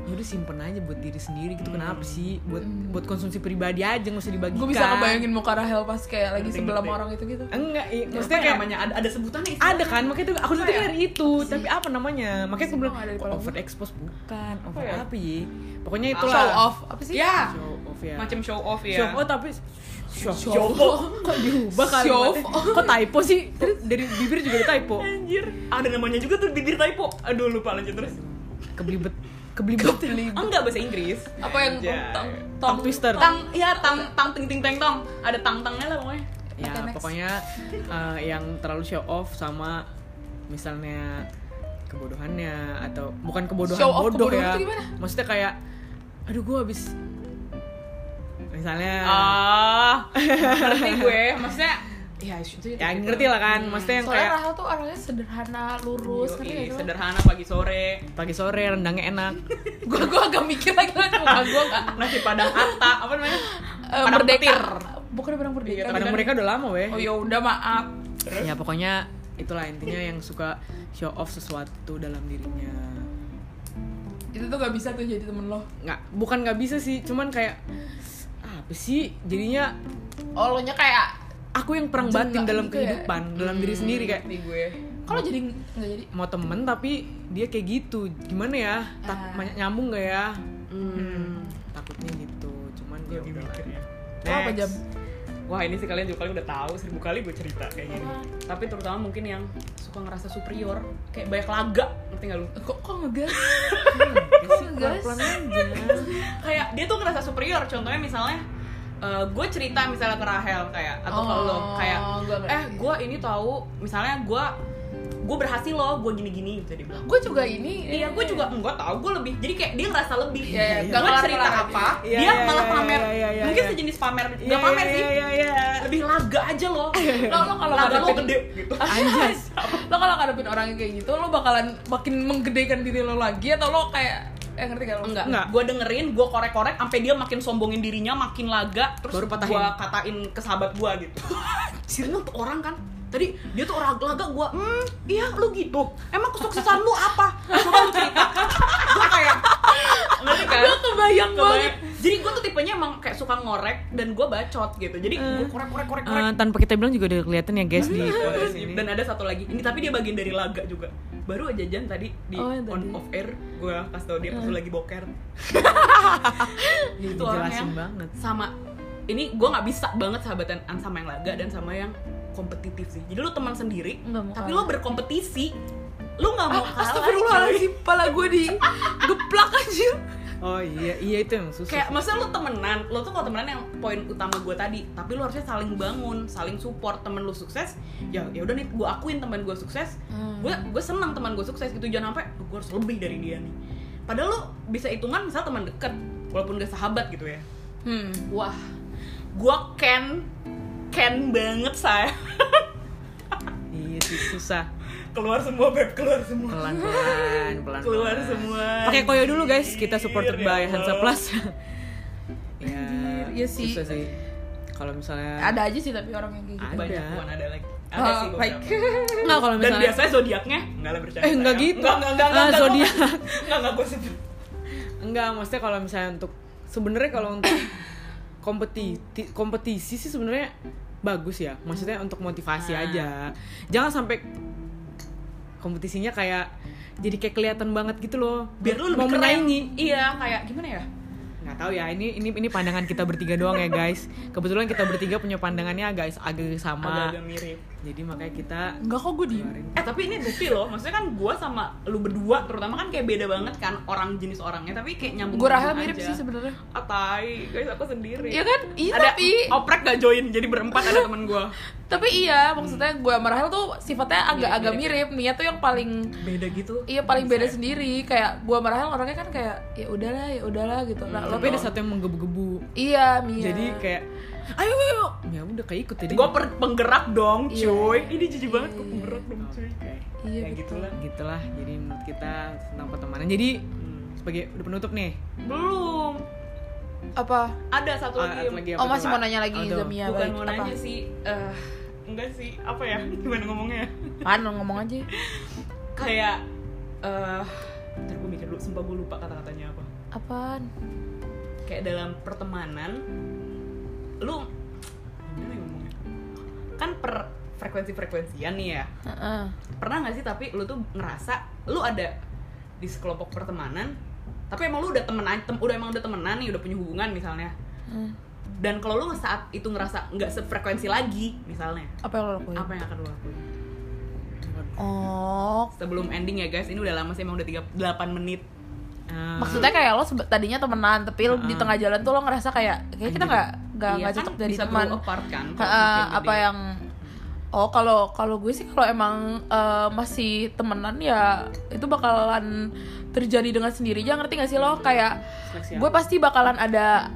[SPEAKER 3] yaudah simpen aja buat diri sendiri gitu kenapa
[SPEAKER 1] Hmm.
[SPEAKER 3] sih buat buat konsumsi pribadi aja nggak usah dibagikan
[SPEAKER 2] gue bisa ngebayangin muka Rahel pas kayak lagi
[SPEAKER 1] Ngerti,
[SPEAKER 2] sebelah sama
[SPEAKER 1] ngerti.
[SPEAKER 2] orang itu gitu
[SPEAKER 3] enggak iya, maksudnya
[SPEAKER 1] Maksudnya
[SPEAKER 3] kayak
[SPEAKER 1] ya, namanya ada ada sebutannya sih.
[SPEAKER 3] ada kan makanya tuh aku tuh
[SPEAKER 1] Apa ya?
[SPEAKER 3] nyari itu tapi apa namanya makanya aku
[SPEAKER 2] Semua
[SPEAKER 3] belum
[SPEAKER 2] ada di
[SPEAKER 3] kok
[SPEAKER 2] kepala gue.
[SPEAKER 3] overexpose bukan over
[SPEAKER 1] ya?
[SPEAKER 3] apa ya pokoknya
[SPEAKER 1] Ah,
[SPEAKER 3] itulah
[SPEAKER 2] show off apa sih
[SPEAKER 1] Ya.
[SPEAKER 3] show off ya
[SPEAKER 1] Macam show off ya.
[SPEAKER 3] show off oh, tapi show off
[SPEAKER 2] Show off.
[SPEAKER 3] kok diubah kali
[SPEAKER 2] Show
[SPEAKER 3] kok typo sih Terus dari bibir juga ada typo
[SPEAKER 1] Anjir, ada namanya juga tuh bibir typo. Aduh, lupa lanjut terus.
[SPEAKER 3] keblibet keblibet
[SPEAKER 1] Ah, enggak bahasa Inggris.
[SPEAKER 2] apa yang
[SPEAKER 1] Anjay.
[SPEAKER 2] tong,
[SPEAKER 3] Tongue twister.
[SPEAKER 1] Tang, ya tang tang ting ting teng tong. Ada tang-tangnya lah pokoknya.
[SPEAKER 3] ya
[SPEAKER 2] Oke, next.
[SPEAKER 3] pokoknya eh, yang terlalu show off sama misalnya kebodohannya atau bukan kebodohan
[SPEAKER 2] Show off
[SPEAKER 3] bodoh
[SPEAKER 2] kebodohan
[SPEAKER 3] ya
[SPEAKER 2] itu gimana?
[SPEAKER 3] maksudnya kayak aduh gue habis misalnya
[SPEAKER 1] Ah, ngerti gue. Maksudnya ya itu
[SPEAKER 3] ya ngerti lah kan maksudnya yang
[SPEAKER 2] soalnya
[SPEAKER 3] kayak
[SPEAKER 2] Rahel tuh orangnya sederhana lurus ngerti gak sih lo?
[SPEAKER 1] sederhana pagi sore.
[SPEAKER 3] pagi sore rendangnya enak
[SPEAKER 2] gue gue agak mikir lagi lah muka gue gak
[SPEAKER 1] Nasi padang atta, apa namanya?
[SPEAKER 2] Eh,
[SPEAKER 1] Padang
[SPEAKER 2] merdeka
[SPEAKER 1] petir.
[SPEAKER 2] bukan barang
[SPEAKER 1] Iya,
[SPEAKER 2] merdeka
[SPEAKER 3] padahal
[SPEAKER 1] kan-
[SPEAKER 3] mereka udah lama weh
[SPEAKER 2] oh ya udah maaf
[SPEAKER 3] ya pokoknya itulah intinya yang suka show off sesuatu dalam dirinya
[SPEAKER 2] itu tuh gak bisa tuh jadi temen lo
[SPEAKER 3] nggak bukan nggak bisa sih cuman kayak "Ah, apa sih jadinya
[SPEAKER 2] oh lo nya kayak
[SPEAKER 3] aku yang perang
[SPEAKER 2] Jenggak
[SPEAKER 3] batin dalam
[SPEAKER 2] gitu ya.
[SPEAKER 3] kehidupan dalam diri sendiri kayak
[SPEAKER 1] Ngerti gue.
[SPEAKER 2] kalau jadi nggak jadi
[SPEAKER 3] mau temen tapi dia kayak gitu gimana ya tak
[SPEAKER 2] Ah.
[SPEAKER 3] banyak nyambung gak ya
[SPEAKER 1] Hmm.
[SPEAKER 3] takutnya gitu cuman dia udah
[SPEAKER 1] ya.
[SPEAKER 2] Lo apa jam
[SPEAKER 1] Wah ini sih kalian juga kali udah tahu seribu kali gue cerita kayak gini. Tapi terutama mungkin yang suka ngerasa superior, kayak banyak laga, ngerti gak lu?
[SPEAKER 2] kok kok ngegas
[SPEAKER 3] Ya sih,
[SPEAKER 2] Iya, Guys.
[SPEAKER 3] pelan-pelan aja
[SPEAKER 1] iya, kayak dia tuh ngerasa superior contohnya misalnya eh, gue cerita misalnya ke Rahel kayak atau ke
[SPEAKER 2] Oh,
[SPEAKER 1] lo kayak
[SPEAKER 2] gua ngerti.
[SPEAKER 1] eh gue ini tahu misalnya gue gue berhasil loh gue gini-gini gitu dia bilang
[SPEAKER 2] gue juga ini
[SPEAKER 1] Iya, gue juga enggak tahu gue lebih. Jadi kayak dia ngerasa lebih.
[SPEAKER 2] Iya, iya.
[SPEAKER 1] Gue
[SPEAKER 2] Nggak kelar-kelar
[SPEAKER 1] cerita
[SPEAKER 2] aja.
[SPEAKER 1] apa,
[SPEAKER 3] Iya,
[SPEAKER 1] dia
[SPEAKER 3] iya,
[SPEAKER 1] malah
[SPEAKER 3] iya,
[SPEAKER 1] pamer.
[SPEAKER 3] iya, iya, iya,
[SPEAKER 1] Mungkin
[SPEAKER 3] iya.
[SPEAKER 1] sejenis pamer,
[SPEAKER 3] Iya,
[SPEAKER 1] enggak pamer
[SPEAKER 3] iya,
[SPEAKER 1] sih.
[SPEAKER 3] Iya, iya.
[SPEAKER 1] Lebih laga aja loh.
[SPEAKER 2] lo lo kalau
[SPEAKER 1] laga lo
[SPEAKER 2] ngadepin
[SPEAKER 1] gede gitu.
[SPEAKER 3] Anjas.
[SPEAKER 2] lo kalau ngadepin orang yang kayak gitu lo bakalan makin menggedekan diri lo lagi atau lo kayak eh ngerti gak lo
[SPEAKER 1] Enggak,
[SPEAKER 3] Enggak.
[SPEAKER 1] gue dengerin, gue korek-korek, sampai dia makin sombongin dirinya, makin laga, terus
[SPEAKER 3] Baru patahin.
[SPEAKER 1] gue katain ke sahabat gue gitu. Sirna tuh orang kan, tadi dia tuh orang laga, gue, hmm, iya lu gitu, emang kesuksesan lu apa? Coba lu cerita. gue kayak, ngerti kan?
[SPEAKER 2] gue kebayang banget
[SPEAKER 1] Kebayang. Jadi gue tuh tipenya emang kayak suka ngorek dan gue bacot gitu. Jadi gue korek korek korek korek.
[SPEAKER 3] Eh, tanpa kita bilang juga udah kelihatan ya guys di podcast ini.
[SPEAKER 1] dan ada satu lagi ini tapi dia bagian dari laga juga baru aja Jan tadi di
[SPEAKER 2] Oh, yang
[SPEAKER 1] on
[SPEAKER 2] tadi. Eh.
[SPEAKER 1] off air gue kasih tau dia pas lu lagi boker
[SPEAKER 3] Ih,
[SPEAKER 1] itu orang
[SPEAKER 3] dijelasin
[SPEAKER 1] yang
[SPEAKER 3] banget.
[SPEAKER 1] sama ini gue nggak bisa banget sahabatan sama yang laga dan sama yang kompetitif sih jadi lu teman sendiri
[SPEAKER 2] Nggak mau
[SPEAKER 1] tapi
[SPEAKER 2] kalah.
[SPEAKER 1] lu berkompetisi lu nggak mau kalah
[SPEAKER 2] Ah, Astagfirullahaladzim, pala gue di geplak anjir
[SPEAKER 3] Oh iya, iya itu yang susah.
[SPEAKER 1] kayak maksudnya lu temenan lu tuh kalau temenan yang poin utama gue tadi tapi lu harusnya saling bangun saling support temen lu sukses ya ya udah nih gue akuin temen gue sukses
[SPEAKER 2] Hmm.
[SPEAKER 1] gue gue senang teman gue sukses gitu jangan sampai gue harus lebih dari dia nih padahal lu bisa hitungan misal teman deket walaupun gak sahabat gitu ya
[SPEAKER 2] hmm.
[SPEAKER 1] wah gue can can banget saya
[SPEAKER 3] Iya sih susah.
[SPEAKER 1] keluar semua beb keluar semua
[SPEAKER 3] Pelan-pelan, pelan.
[SPEAKER 1] keluar semua
[SPEAKER 3] Pakai koyo dulu guys, kita supported
[SPEAKER 1] Anjir, ya
[SPEAKER 3] by Hansa
[SPEAKER 1] Allah.
[SPEAKER 3] Plus. ya,
[SPEAKER 2] Anjir, iya sih.
[SPEAKER 3] Susah sih. Kalau misalnya
[SPEAKER 2] ada aja sih tapi orang yang kayak gitu
[SPEAKER 3] Ada.
[SPEAKER 1] banyak bukan ada lagi ada
[SPEAKER 2] Oh,
[SPEAKER 1] sih
[SPEAKER 2] baik.
[SPEAKER 1] beberapa
[SPEAKER 3] Enggak kalau
[SPEAKER 1] Dan
[SPEAKER 3] misalnya
[SPEAKER 1] biasanya zodiaknya enggak lah bercanda.
[SPEAKER 3] Eh, enggak
[SPEAKER 1] sayang.
[SPEAKER 3] gitu.
[SPEAKER 1] Enggak enggak enggak
[SPEAKER 3] Ah,
[SPEAKER 1] enggak. enggak,
[SPEAKER 3] zodiak.
[SPEAKER 1] gua- Enggak enggak gue sebut.
[SPEAKER 3] Enggak, maksudnya kalau misalnya untuk sebenarnya kalau untuk kompetisi kompetisi sih sebenarnya bagus ya. Maksudnya untuk motivasi
[SPEAKER 1] Ah.
[SPEAKER 3] aja. Jangan sampai kompetisinya kayak jadi kayak kelihatan banget gitu loh.
[SPEAKER 1] Biar lu lebih
[SPEAKER 3] mau
[SPEAKER 1] keren.
[SPEAKER 3] menyaingi.
[SPEAKER 1] Iya, kayak gimana ya?
[SPEAKER 3] Nggak tahu ya. Ini ini ini pandangan kita bertiga doang ya, guys. Kebetulan kita bertiga punya pandangannya agak agak sama.
[SPEAKER 1] Agak-agak mirip.
[SPEAKER 3] Jadi makanya kita
[SPEAKER 2] enggak kok gue diem
[SPEAKER 3] keluarin.
[SPEAKER 1] Eh tapi ini bukti loh, maksudnya kan gue sama lu berdua terutama kan kayak beda banget kan orang jenis orangnya, tapi kayak nyambung.
[SPEAKER 2] gue Rahel mirip sih sebenarnya
[SPEAKER 1] Atai, guys aku sendiri.
[SPEAKER 2] Iya kan? Iya,
[SPEAKER 1] ada
[SPEAKER 2] tapi-
[SPEAKER 1] oprek gak join, jadi berempat ada temen gue.
[SPEAKER 2] tapi iya maksudnya gue sama Rahel tuh sifatnya agak-agak mirip
[SPEAKER 1] Mirip-mirip.
[SPEAKER 2] Mia tuh yang paling
[SPEAKER 1] Beda gitu.
[SPEAKER 2] iya paling beda sendiri kayak gue sama Rahel orangnya kan kayak ya udahlah ya udahlah gitu nah,
[SPEAKER 1] Hmm,
[SPEAKER 2] lo
[SPEAKER 3] Tapi ada satu yang menggebu-gebu.
[SPEAKER 2] iya Mia
[SPEAKER 3] Jadi kayak
[SPEAKER 1] Ayo, ayo, ayo.
[SPEAKER 3] ya udah kayak ikut jadi.
[SPEAKER 1] Gue penggerak dong,
[SPEAKER 2] Iya.
[SPEAKER 1] cuy. Ini jijik banget gue penggerak dong, cuy.
[SPEAKER 2] Iya,
[SPEAKER 1] Kayak
[SPEAKER 2] betul.
[SPEAKER 1] gitulah.
[SPEAKER 3] gitulah jadi menurut kita tentang pertemanan jadi
[SPEAKER 1] Hmm.
[SPEAKER 3] sebagai udah penutup nih
[SPEAKER 1] Belum.
[SPEAKER 2] apa
[SPEAKER 1] Ada satu
[SPEAKER 3] Ah,
[SPEAKER 1] lagi.
[SPEAKER 3] satu
[SPEAKER 1] yang-
[SPEAKER 3] lagi Ya,
[SPEAKER 2] oh
[SPEAKER 3] betul.
[SPEAKER 2] masih mau nanya lagi
[SPEAKER 3] Aduh,
[SPEAKER 2] sama Mia
[SPEAKER 1] Iya, bukan
[SPEAKER 2] Ya,
[SPEAKER 1] mau
[SPEAKER 2] baik. Apa? Hmm.
[SPEAKER 1] nanya sih eh, enggak sih apa ya gimana ngomongnya
[SPEAKER 2] Apaan, lo ngomong aja
[SPEAKER 1] kayak eh ntar gue mikir dulu sumpah gue lupa kata-katanya apa
[SPEAKER 2] apaan
[SPEAKER 1] kayak dalam pertemanan lu gimana ya ngomongnya kan per frekuensi frekuensian nih ya
[SPEAKER 2] Heeh.
[SPEAKER 1] pernah nggak sih tapi lu tuh ngerasa lu ada di sekelompok pertemanan tapi emang lu udah temen aja- tem- udah emang udah temenan nih udah punya hubungan misalnya
[SPEAKER 2] Hmm.
[SPEAKER 1] dan kalau lu saat itu ngerasa nggak sefrekuensi lagi misalnya
[SPEAKER 2] apa yang lo lakuin
[SPEAKER 1] apa yang akan lu lakuin
[SPEAKER 2] oh
[SPEAKER 1] sebelum ending ya guys ini udah lama sih emang udah 38 menit Hmm.
[SPEAKER 3] Ah,
[SPEAKER 2] maksudnya kayak lo sebe- tadinya temenan tapi lo di
[SPEAKER 3] Heeh.
[SPEAKER 2] tengah jalan tuh lo ngerasa kayak kayak kita nggak nggak
[SPEAKER 1] Iya,
[SPEAKER 2] nggak
[SPEAKER 1] kan
[SPEAKER 2] cocok jadi
[SPEAKER 1] bisa
[SPEAKER 2] teman
[SPEAKER 1] grow apart kan kalau
[SPEAKER 2] Heeh,
[SPEAKER 1] makin
[SPEAKER 2] eh, apa
[SPEAKER 1] gede.
[SPEAKER 2] yang oh kalau kalau gue sih kalau emang eh, masih temenan ya itu bakalan terjadi dengan sendirinya ngerti gak sih lo kayak
[SPEAKER 3] seleksi
[SPEAKER 2] gue pasti bakalan ada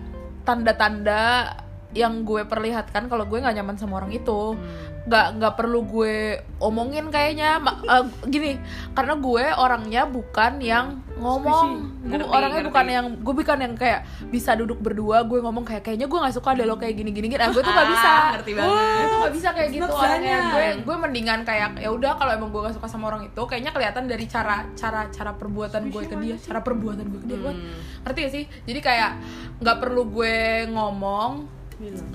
[SPEAKER 2] tanda-tanda yang gue perlihatkan kalau gue nggak nyaman sama orang itu
[SPEAKER 1] Hmm.
[SPEAKER 2] nggak nggak perlu gue omongin kayaknya Ma- eh, gini karena gue orangnya bukan yang ngomong gue
[SPEAKER 1] Ngerti,
[SPEAKER 2] orangnya
[SPEAKER 1] ngerti.
[SPEAKER 2] bukan yang gue bukan yang kayak bisa duduk berdua gue ngomong kayak kayaknya gue nggak suka ada lo kayak gini gini gini nah, gue tuh nggak bisa Oh,
[SPEAKER 1] Ah, ngerti banget.
[SPEAKER 2] gue tuh nggak bisa kayak gitu
[SPEAKER 3] Maksudnya.
[SPEAKER 2] orangnya gue gue mendingan kayak ya udah kalau emang gue gak suka sama orang itu kayaknya kelihatan dari cara cara cara perbuatan gue ke dia cara perbuatan gue ke dia Wan.
[SPEAKER 1] Hmm.
[SPEAKER 2] ngerti gak sih jadi kayak nggak perlu gue ngomong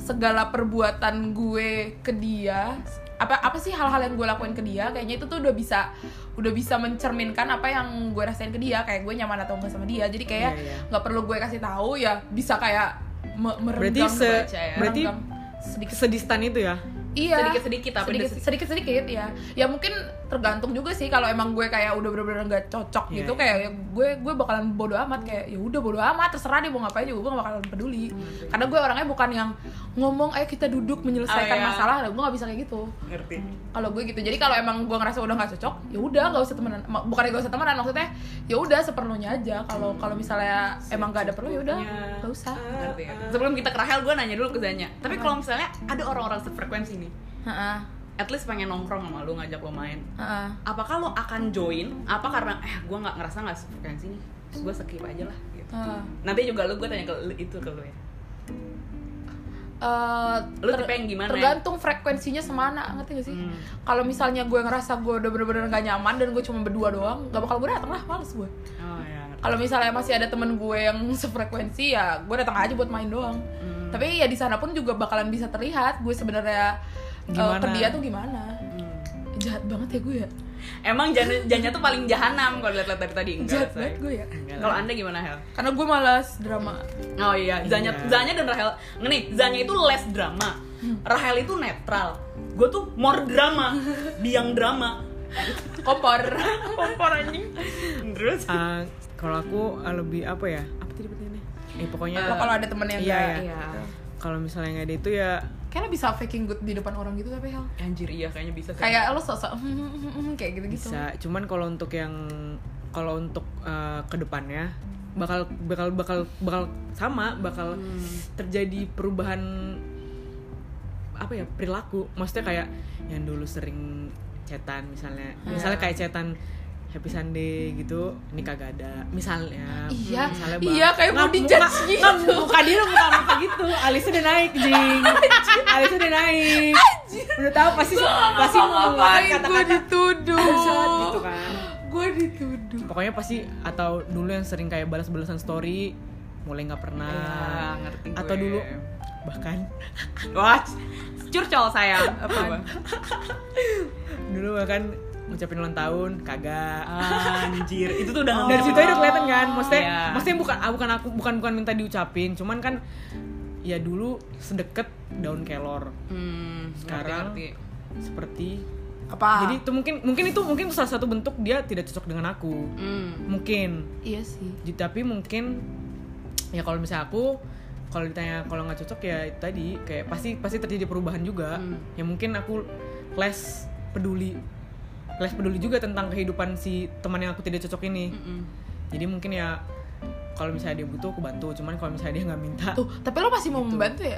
[SPEAKER 2] segala perbuatan gue ke dia apa apa sih hal-hal yang gue lakuin ke dia kayaknya itu tuh udah bisa udah bisa mencerminkan apa yang gue rasain ke dia kayak gue nyaman atau enggak sama dia jadi kayak
[SPEAKER 3] Iya, iya.
[SPEAKER 2] nggak perlu gue kasih tahu ya bisa kayak me- merenggang
[SPEAKER 3] berarti se
[SPEAKER 1] kebaca ya.
[SPEAKER 3] berarti
[SPEAKER 2] merenggang sedikit
[SPEAKER 3] sedistan itu ya
[SPEAKER 2] Iya.
[SPEAKER 1] Sedikit-sedikit tapi
[SPEAKER 2] sedikit,
[SPEAKER 1] udah
[SPEAKER 2] sedikit sedikit ya. Ya mungkin tergantung juga sih kalau emang gue kayak udah bener-bener nggak cocok
[SPEAKER 3] Iya,
[SPEAKER 2] gitu
[SPEAKER 3] iya.
[SPEAKER 2] kayak ya gue gue bakalan bodo amat kayak ya udah bodo amat terserah dia mau ngapain juga gue gak bakalan peduli.
[SPEAKER 1] Iya.
[SPEAKER 2] Karena gue orangnya bukan yang ngomong ayo kita duduk menyelesaikan
[SPEAKER 1] Oh, iya.
[SPEAKER 2] masalah, gue nggak bisa kayak gitu.
[SPEAKER 1] ngerti
[SPEAKER 2] Kalau gue gitu. Jadi kalau emang gue ngerasa udah nggak cocok, ya udah nggak usah temenan. Ma- Bukan nggak usah temenan maksudnya ya udah seperlunya aja. Kalau kalau misalnya emang nggak ada perlu ya udah nggak usah.
[SPEAKER 1] ngerti ya. sebelum kita ke Rahel gue nanya dulu ke Zanya tapi kalau misalnya ada orang-orang sefrekuensi nih
[SPEAKER 2] Heeh.
[SPEAKER 1] at least pengen nongkrong sama lu ngajak lo main
[SPEAKER 2] Heeh.
[SPEAKER 1] apakah lo akan join apa karena eh gue nggak ngerasa nggak sefrekuensi nih terus gue skip aja lah gitu.
[SPEAKER 2] Heeh.
[SPEAKER 1] nanti juga lu gue tanya ke lu, itu ke lu ya
[SPEAKER 2] Eh,
[SPEAKER 1] Lu tipe yang gimana ya?
[SPEAKER 2] tergantung frekuensinya semana ngerti gak sih
[SPEAKER 1] Hmm.
[SPEAKER 2] kalau misalnya gue ngerasa gue udah bener-bener gak nyaman dan gue cuma berdua doang gak bakal gue dateng lah males gue
[SPEAKER 1] oh ya ngerti
[SPEAKER 2] kalau misalnya masih ada temen gue yang sefrekuensi ya gue datang aja buat main doang
[SPEAKER 1] Hmm.
[SPEAKER 2] tapi ya di sana pun juga bakalan bisa terlihat gue sebenarnya eh,
[SPEAKER 3] Gimana?
[SPEAKER 2] ke dia tuh gimana
[SPEAKER 1] Hmm.
[SPEAKER 2] jahat banget ya gue ya
[SPEAKER 1] Emang Janya, Janya tuh paling jahanam kalau lihat-lihat dari tadi enggak.
[SPEAKER 2] jahat
[SPEAKER 1] say.
[SPEAKER 2] banget gue ya
[SPEAKER 3] Enggak
[SPEAKER 1] Kalau
[SPEAKER 3] lah.
[SPEAKER 1] Anda gimana, Hel?
[SPEAKER 2] karena gue malas drama
[SPEAKER 1] Oh iya, Zanya,
[SPEAKER 3] Iya.
[SPEAKER 1] Zanya dan Rahel. Nih, Zanya itu less drama. Rahel itu netral. Gue tuh more drama, biang drama.
[SPEAKER 2] kompor
[SPEAKER 1] Kompor anjing. Terus
[SPEAKER 3] Ah, kalau aku ah, lebih apa ya? Apa tadi pertanyaannya? Eh pokoknya
[SPEAKER 2] Nah, kalau ada temen yang
[SPEAKER 3] iya,
[SPEAKER 2] gak
[SPEAKER 3] iya.
[SPEAKER 1] iya.
[SPEAKER 3] kalau misalnya nggak ada itu ya
[SPEAKER 2] kayaknya bisa faking good di depan orang gitu tapi hal
[SPEAKER 1] anjir iya kayaknya bisa sih.
[SPEAKER 2] kayak lo sosok kayak gitu-gitu
[SPEAKER 3] bisa. Cuman kalau untuk yang kalau untuk eh, kedepannya
[SPEAKER 2] Hmm.
[SPEAKER 3] bakal bakal bakal bakal sama bakal terjadi perubahan apa ya perilaku.
[SPEAKER 2] Hmm.
[SPEAKER 3] Maksudnya kayak yang dulu sering cetan misalnya,
[SPEAKER 2] Ah.
[SPEAKER 3] misalnya kayak cetan Happy Sunday gitu, ini kagak ada misalnya.
[SPEAKER 2] Iya,
[SPEAKER 3] misalnya
[SPEAKER 2] iya, kayak mau di-judge gitu.
[SPEAKER 3] muka dia muka muka gitu, alisnya udah naik, jing. alisnya udah naik. Udah tahu pasti pasti mau
[SPEAKER 2] ngapain
[SPEAKER 3] ngeluarin
[SPEAKER 2] gue
[SPEAKER 3] kata-kata
[SPEAKER 2] dituduh
[SPEAKER 3] Bangsat gitu kan
[SPEAKER 2] gue dituduh
[SPEAKER 3] pokoknya pasti atau dulu yang sering kayak balas-balasan story mulai nggak pernah
[SPEAKER 1] Iya, ya. ngerti
[SPEAKER 3] Ah, atau
[SPEAKER 1] gue.
[SPEAKER 3] dulu bahkan
[SPEAKER 1] Wah, curcol sayang. Apa?
[SPEAKER 3] dulu bahkan ngucapin ulang tahun
[SPEAKER 1] Ah.
[SPEAKER 3] kagak
[SPEAKER 1] Anjir, itu tuh udah
[SPEAKER 3] Oh. dari situ aja udah kelihatan kan maksudnya
[SPEAKER 1] Iya.
[SPEAKER 3] maksudnya bukan ah, bukan aku bukan bukan minta diucapin cuman kan ya dulu sedeket daun kelor
[SPEAKER 1] Hmm,
[SPEAKER 3] Sekarang-
[SPEAKER 1] ngerti, Ah. ngerti.
[SPEAKER 3] seperti
[SPEAKER 2] apa
[SPEAKER 3] jadi itu mungkin mungkin itu mungkin itu salah satu bentuk dia tidak cocok dengan aku
[SPEAKER 1] Hmm.
[SPEAKER 2] Mm.
[SPEAKER 3] mungkin
[SPEAKER 2] iya sih
[SPEAKER 3] Ju- tapi mungkin ya kalau misalnya aku kalau ditanya kalau nggak cocok ya itu tadi kayak pasti pasti terjadi perubahan juga
[SPEAKER 2] Hmm.
[SPEAKER 3] ya mungkin aku less peduli less peduli juga tentang kehidupan si teman yang aku tidak cocok ini
[SPEAKER 1] Mm-mm.
[SPEAKER 2] Hmm.
[SPEAKER 3] jadi mungkin ya kalau misalnya dia butuh aku bantu cuman kalau misalnya dia nggak minta
[SPEAKER 2] tuh tapi lo masih mau membantu ya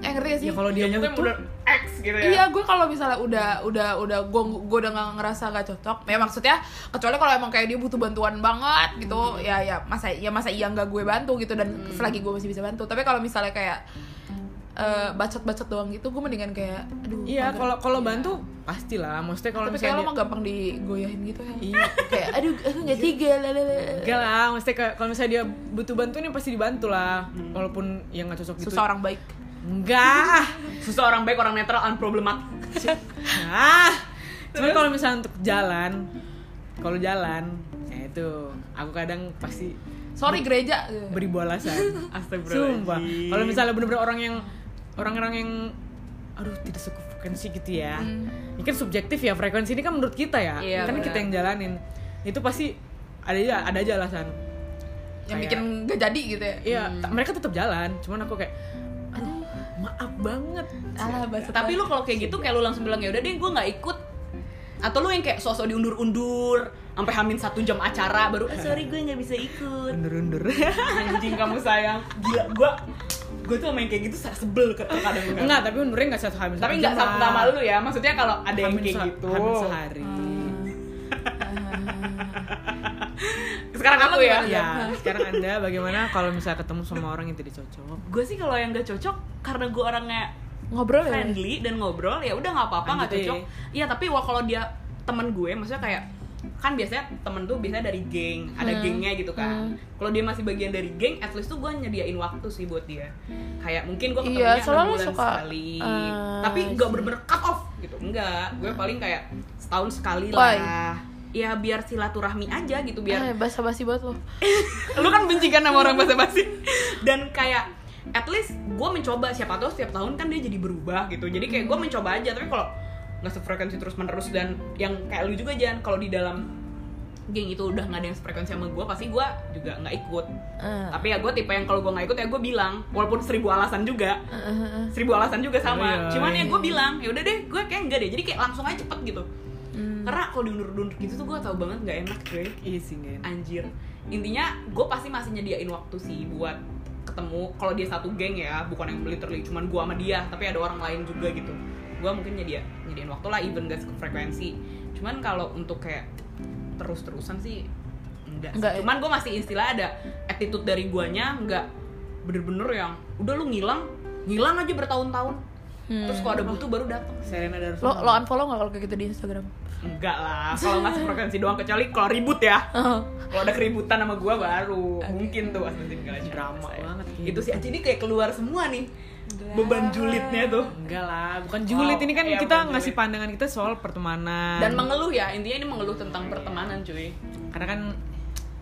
[SPEAKER 2] eh ngerti gak sih
[SPEAKER 3] Gitu. ya kalau dia
[SPEAKER 1] Janya tuh
[SPEAKER 3] butuh
[SPEAKER 1] udah X gitu ya.
[SPEAKER 2] Iya, gue kalau misalnya udah udah udah gue gue udah nggak ngerasa gak cocok. Ya maksudnya kecuali kalau emang kayak dia butuh bantuan banget gitu, ya ya masa ya masa iya nggak gue bantu gitu dan selagi gue masih bisa bantu. Tapi kalau misalnya kayak eh, bacot-bacot doang gitu, gue mendingan kayak aduh.
[SPEAKER 3] iya
[SPEAKER 2] agak-
[SPEAKER 3] kalau kalau bantu pastilah maksudnya kalau
[SPEAKER 2] tapi kayak lo
[SPEAKER 3] misalnya
[SPEAKER 2] mah
[SPEAKER 3] dia,
[SPEAKER 2] gampang digoyahin gitu ya.
[SPEAKER 3] iya
[SPEAKER 2] kayak aduh aku nggak tiga lalala.
[SPEAKER 3] enggak lah maksudnya kayak kalau misalnya dia butuh bantuan ya pasti dibantu lah walaupun yang nggak cocok gitu
[SPEAKER 2] Hmm. susah orang baik
[SPEAKER 3] enggak
[SPEAKER 1] Susah orang baik, orang netral, unproblematik.
[SPEAKER 3] ah cuma kalau misalnya untuk jalan kalau jalan ya itu aku kadang pasti
[SPEAKER 2] sorry gereja eh,
[SPEAKER 3] beri balasan
[SPEAKER 1] Astagfirullahaladzim.
[SPEAKER 3] sumpah kalau misalnya bener-bener orang yang orang-orang yang aduh tidak suka frekuensi gitu ya ini kan subjektif ya frekuensi ini kan menurut kita ya
[SPEAKER 1] Hmm. Iya,
[SPEAKER 3] kan
[SPEAKER 1] benar.
[SPEAKER 3] kita yang jalanin itu pasti ada aja ada aja alasan
[SPEAKER 2] yang bikin
[SPEAKER 3] Kayak-
[SPEAKER 2] gak jadi gitu ya
[SPEAKER 3] iya
[SPEAKER 1] Hmm.
[SPEAKER 3] t- mereka tetap jalan cuman aku kayak aduh maaf banget
[SPEAKER 2] alah bahasa
[SPEAKER 1] Tapi lu kalau kayak gitu kayak lu langsung bilang ya udah deh gue nggak ikut. Atau lu yang kayak sosok diundur-undur sampai hamin satu jam acara baru "Ah, sorry gue nggak bisa ikut.
[SPEAKER 3] undur-undur
[SPEAKER 1] Anjing kamu sayang. Gila gue gue tuh main kayak gitu saya sebel ke kadang kadang.
[SPEAKER 3] enggak tapi undurnya enggak satu hamil
[SPEAKER 1] Tapi
[SPEAKER 3] satu
[SPEAKER 1] nggak
[SPEAKER 3] jam
[SPEAKER 1] sama
[SPEAKER 3] lah.
[SPEAKER 1] sama lu ya. Maksudnya kalau ada yang
[SPEAKER 3] Hamil se-
[SPEAKER 1] kayak gitu. Hmm.
[SPEAKER 3] hamil sehari
[SPEAKER 2] Eh,
[SPEAKER 1] Sekarang aku ya.
[SPEAKER 3] ya sekarang anda bagaimana kalau misalnya ketemu sama orang yang tidak cocok
[SPEAKER 1] Gue sih kalau yang gak cocok karena gue orangnya
[SPEAKER 2] ngobrol ya
[SPEAKER 1] friendly dan ngobrol ya udah nggak apa-apa nggak
[SPEAKER 3] Lanjut,
[SPEAKER 1] cocok iya tapi wah kalau dia temen gue maksudnya kayak kan biasanya temen tuh biasanya dari geng ada
[SPEAKER 2] Hmm.
[SPEAKER 1] gengnya gitu kan kalau dia masih bagian dari geng at least tuh gue nyediain waktu sih buat dia kayak mungkin gue
[SPEAKER 2] Iya,
[SPEAKER 1] ketemunya enam
[SPEAKER 2] soalnya lu
[SPEAKER 1] bulan
[SPEAKER 2] suka,
[SPEAKER 1] sekali
[SPEAKER 2] eh, Hmm.
[SPEAKER 1] tapi gak bener-bener cut off gitu enggak gue paling kayak setahun sekali
[SPEAKER 2] Why?
[SPEAKER 1] lah ya biar silaturahmi aja gitu biar
[SPEAKER 2] Eh, bahasa basi banget lo
[SPEAKER 1] lu kan benci kan sama orang basa-basi dan kayak at least gue mencoba siapa tahu setiap tahun kan dia jadi berubah gitu jadi kayak gue mencoba aja tapi kalau nggak sefrekuensi terus menerus dan yang kayak lu juga Jan kalau di dalam geng itu udah nggak ada yang sefrekuensi sama gue pasti gue juga nggak ikut
[SPEAKER 2] Eh.
[SPEAKER 1] tapi ya gue tipe yang kalau gue nggak ikut ya gue bilang walaupun seribu alasan juga
[SPEAKER 2] eh,
[SPEAKER 1] seribu alasan juga sama
[SPEAKER 3] Iya,
[SPEAKER 1] cuman ya
[SPEAKER 3] iya.
[SPEAKER 1] gue bilang ya udah deh gue kayak enggak deh jadi kayak langsung aja cepet gitu
[SPEAKER 2] Hmm.
[SPEAKER 1] karena kalau diundur-undur gitu tuh gue tau banget nggak enak gue
[SPEAKER 3] Iya sih nggak enak.
[SPEAKER 1] anjir intinya gue pasti masih nyediain waktu sih buat ketemu kalau dia satu geng ya bukan yang literally cuman gue sama dia tapi ada orang lain juga gitu gue mungkin nyedia nyediain waktu lah even gak frekuensi cuman kalau untuk kayak terus-terusan sih enggak, sih.
[SPEAKER 2] Enggak ya?
[SPEAKER 1] cuman gue masih istilah ada attitude dari guanya enggak bener-bener yang udah lu ngilang ngilang aja bertahun-tahun terus kalau ada butuh baru datang
[SPEAKER 3] Serena Darsono.
[SPEAKER 2] Hmm. Lo lo unfollow nggak kalau kayak gitu di Instagram?
[SPEAKER 1] enggak lah kalau nggak frekuensi doang kecuali kalau ribut ya kalau ada keributan sama gua baru mungkin tuh asbestin galactic
[SPEAKER 3] Drama banget kayak
[SPEAKER 1] itu
[SPEAKER 3] gitu.
[SPEAKER 1] sih jadi kayak keluar semua nih beban julidnya tuh
[SPEAKER 3] Enggak lah, bukan julid
[SPEAKER 1] Oh,
[SPEAKER 3] ini kan
[SPEAKER 1] iya,
[SPEAKER 3] kita
[SPEAKER 1] bukan
[SPEAKER 3] ngasih
[SPEAKER 1] julid.
[SPEAKER 3] pandangan kita soal pertemanan.
[SPEAKER 1] dan mengeluh ya intinya ini mengeluh tentang pertemanan cuy
[SPEAKER 3] karena kan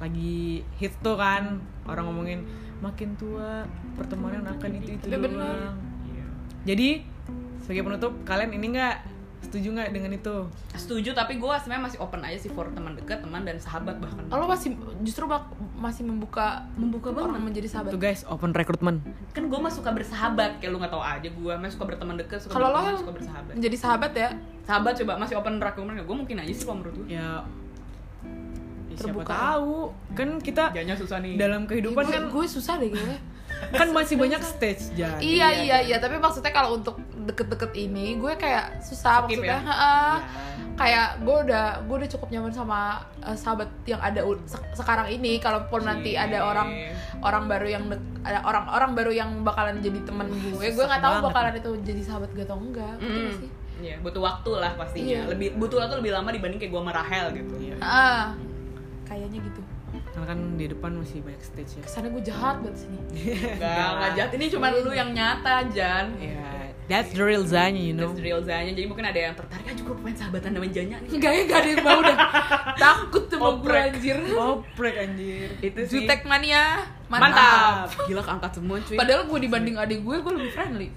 [SPEAKER 3] lagi hits tuh kan orang ngomongin makin tua pertemanan akan itu itu
[SPEAKER 2] Iya,
[SPEAKER 3] doang.
[SPEAKER 2] bener.
[SPEAKER 3] Jadi sebagai penutup kalian ini nggak setuju nggak dengan itu?
[SPEAKER 1] setuju tapi gua sebenarnya masih open aja sih for teman dekat teman dan sahabat bahkan
[SPEAKER 2] Oh, lo masih justru bak- masih membuka
[SPEAKER 1] membuka
[SPEAKER 2] orang menjadi sahabat.
[SPEAKER 3] Tuh guys open recruitment.
[SPEAKER 1] kan gua mah suka bersahabat kayak lu nggak tahu aja gua masih suka berteman dekat suka
[SPEAKER 2] Kalau lo
[SPEAKER 1] berteman,
[SPEAKER 2] yang
[SPEAKER 1] suka bersahabat
[SPEAKER 2] menjadi sahabat ya,
[SPEAKER 1] sahabat coba masih open rekrutmen gua mungkin aja sih kalau menurut gua
[SPEAKER 3] Ya, ya siapa
[SPEAKER 2] Terbuka.
[SPEAKER 3] tahu kan kita
[SPEAKER 1] jadinya susah nih
[SPEAKER 3] dalam kehidupan
[SPEAKER 2] gue,
[SPEAKER 3] kan
[SPEAKER 2] gue susah deh gue.
[SPEAKER 3] kan masih banyak stage
[SPEAKER 1] kan?
[SPEAKER 3] jadi
[SPEAKER 2] iya iya iya, tapi maksudnya kalau untuk deket-deket ini gue kayak susah
[SPEAKER 1] Skip
[SPEAKER 2] maksudnya.
[SPEAKER 1] ya?
[SPEAKER 2] heeh. kayak gue udah gue udah cukup nyaman sama eh, sahabat yang ada u- se- sekarang ini kalaupun nanti
[SPEAKER 1] Iya.
[SPEAKER 2] ada orang orang baru yang dek- ada orang-orang baru yang bakalan jadi temen gue gue nggak tahu
[SPEAKER 3] banget.
[SPEAKER 2] bakalan itu jadi sahabat gue atau enggak gitu
[SPEAKER 1] Mm.
[SPEAKER 2] sih
[SPEAKER 1] Iya, butuh waktu lah pastinya.
[SPEAKER 2] Iya.
[SPEAKER 1] Lebih butuh waktu lebih lama dibanding kayak gua sama Rahel gitu.
[SPEAKER 3] Iya.
[SPEAKER 2] ah kayaknya gitu
[SPEAKER 3] karena kan di depan masih banyak stage ya.
[SPEAKER 2] kesannya gue jahat banget sini
[SPEAKER 1] Enggak, enggak Iya. jahat. Ini cuma lu yang nyata, Jan.
[SPEAKER 3] Ya, that's the real Zanya, you know.
[SPEAKER 1] Terus real Zanya, jadi mungkin ada yang tertarik aja gue pengen sahabatan sama Janya nih.
[SPEAKER 2] enggak ya enggak ada yang mau dah takut sama gue
[SPEAKER 1] Oprek.
[SPEAKER 2] anjir
[SPEAKER 3] Oprek anjir.
[SPEAKER 1] Itu sih.
[SPEAKER 2] jutek mania mantap,
[SPEAKER 1] Mantap. Gila keangkat semua cuy.
[SPEAKER 2] padahal gue dibanding adik gue gue lebih friendly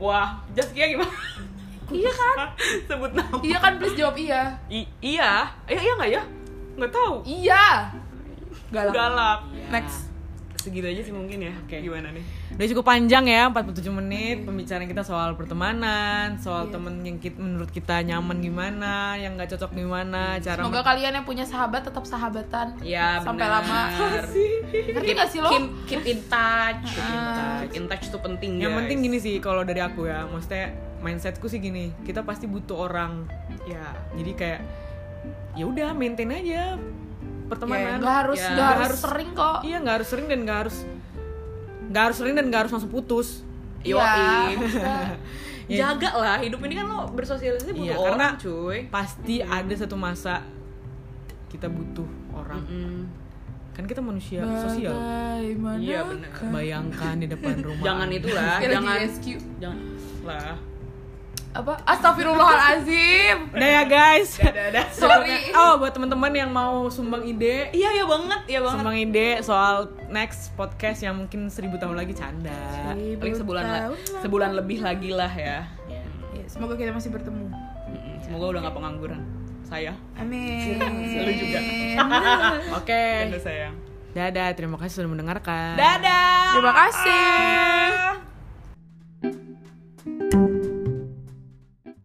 [SPEAKER 1] Wah, Jaskia gimana?
[SPEAKER 2] iya kan
[SPEAKER 1] Sebut nama.
[SPEAKER 2] iya kan please jawab iya
[SPEAKER 1] I- iya. Iya iya enggak ya? Enggak tahu.
[SPEAKER 2] iya galak
[SPEAKER 1] Galak.
[SPEAKER 2] next
[SPEAKER 1] Segitu aja sih mungkin ya.
[SPEAKER 3] Oke.
[SPEAKER 1] Gimana nih?
[SPEAKER 3] Udah cukup panjang ya, 47 menit pembicaraan kita soal pertemanan, soal temen yang kit- menurut kita nyaman gimana, yang nggak cocok gimana, cara
[SPEAKER 2] Semoga kalian yang punya sahabat tetap sahabatan
[SPEAKER 1] Ya,
[SPEAKER 2] sampai
[SPEAKER 1] benar.
[SPEAKER 2] lama. Ngerti gak sih lo? Iya.
[SPEAKER 1] Keep, keep in touch. Ah.
[SPEAKER 3] touch.
[SPEAKER 1] Keep in touch itu penting
[SPEAKER 3] Yang
[SPEAKER 1] guys.
[SPEAKER 3] penting gini sih kalau dari aku ya, maksudnya mindsetku sih gini, kita pasti butuh orang.
[SPEAKER 1] ya.
[SPEAKER 3] Iya. Jadi kayak ya udah maintain aja pertemanan.
[SPEAKER 2] Gak Iya, harus,
[SPEAKER 1] Ya,
[SPEAKER 2] gak
[SPEAKER 1] nggak
[SPEAKER 2] harus
[SPEAKER 3] harus.
[SPEAKER 2] sering kok.
[SPEAKER 3] Iya, nggak harus sering dan nggak harus nggak harus sering dan nggak harus langsung putus.
[SPEAKER 1] Yo,
[SPEAKER 2] Ya, maksudnya.
[SPEAKER 1] jaga lah hidup ini kan lo bersosialisasi butuh
[SPEAKER 3] Iya, karena
[SPEAKER 1] orang cuy.
[SPEAKER 3] pasti ada satu masa kita butuh orang.
[SPEAKER 1] Mm.
[SPEAKER 3] Kan kita manusia sosial.
[SPEAKER 2] Bagaimana
[SPEAKER 1] Iya, benar.
[SPEAKER 2] kan?
[SPEAKER 3] Bayangkan di depan rumah.
[SPEAKER 1] Jangan itulah,
[SPEAKER 2] Kayak lagi
[SPEAKER 1] jangan
[SPEAKER 2] SQ.
[SPEAKER 1] jangan lah.
[SPEAKER 2] Apa? Astagfirullahalazim.
[SPEAKER 3] Udah ya guys.
[SPEAKER 1] Dadah.
[SPEAKER 2] Sorry.
[SPEAKER 3] Oh, buat teman-teman yang mau sumbang ide,
[SPEAKER 1] Iya ya banget, iya banget.
[SPEAKER 3] sumbang ide soal next podcast yang mungkin seribu tahun lagi canda.
[SPEAKER 1] Paling sebulan lah, sebulan lebih lagi lah ya.
[SPEAKER 3] Ya.
[SPEAKER 2] Ya, semoga kita masih bertemu.
[SPEAKER 1] Mm-mm, Semoga udah nggak pengangguran. Saya,
[SPEAKER 2] Amin.
[SPEAKER 1] lu juga.
[SPEAKER 3] Oke.
[SPEAKER 1] Iya, Tanda sayang.
[SPEAKER 3] Dadah, terima kasih sudah mendengarkan.
[SPEAKER 1] Dadah.
[SPEAKER 2] Terima kasih.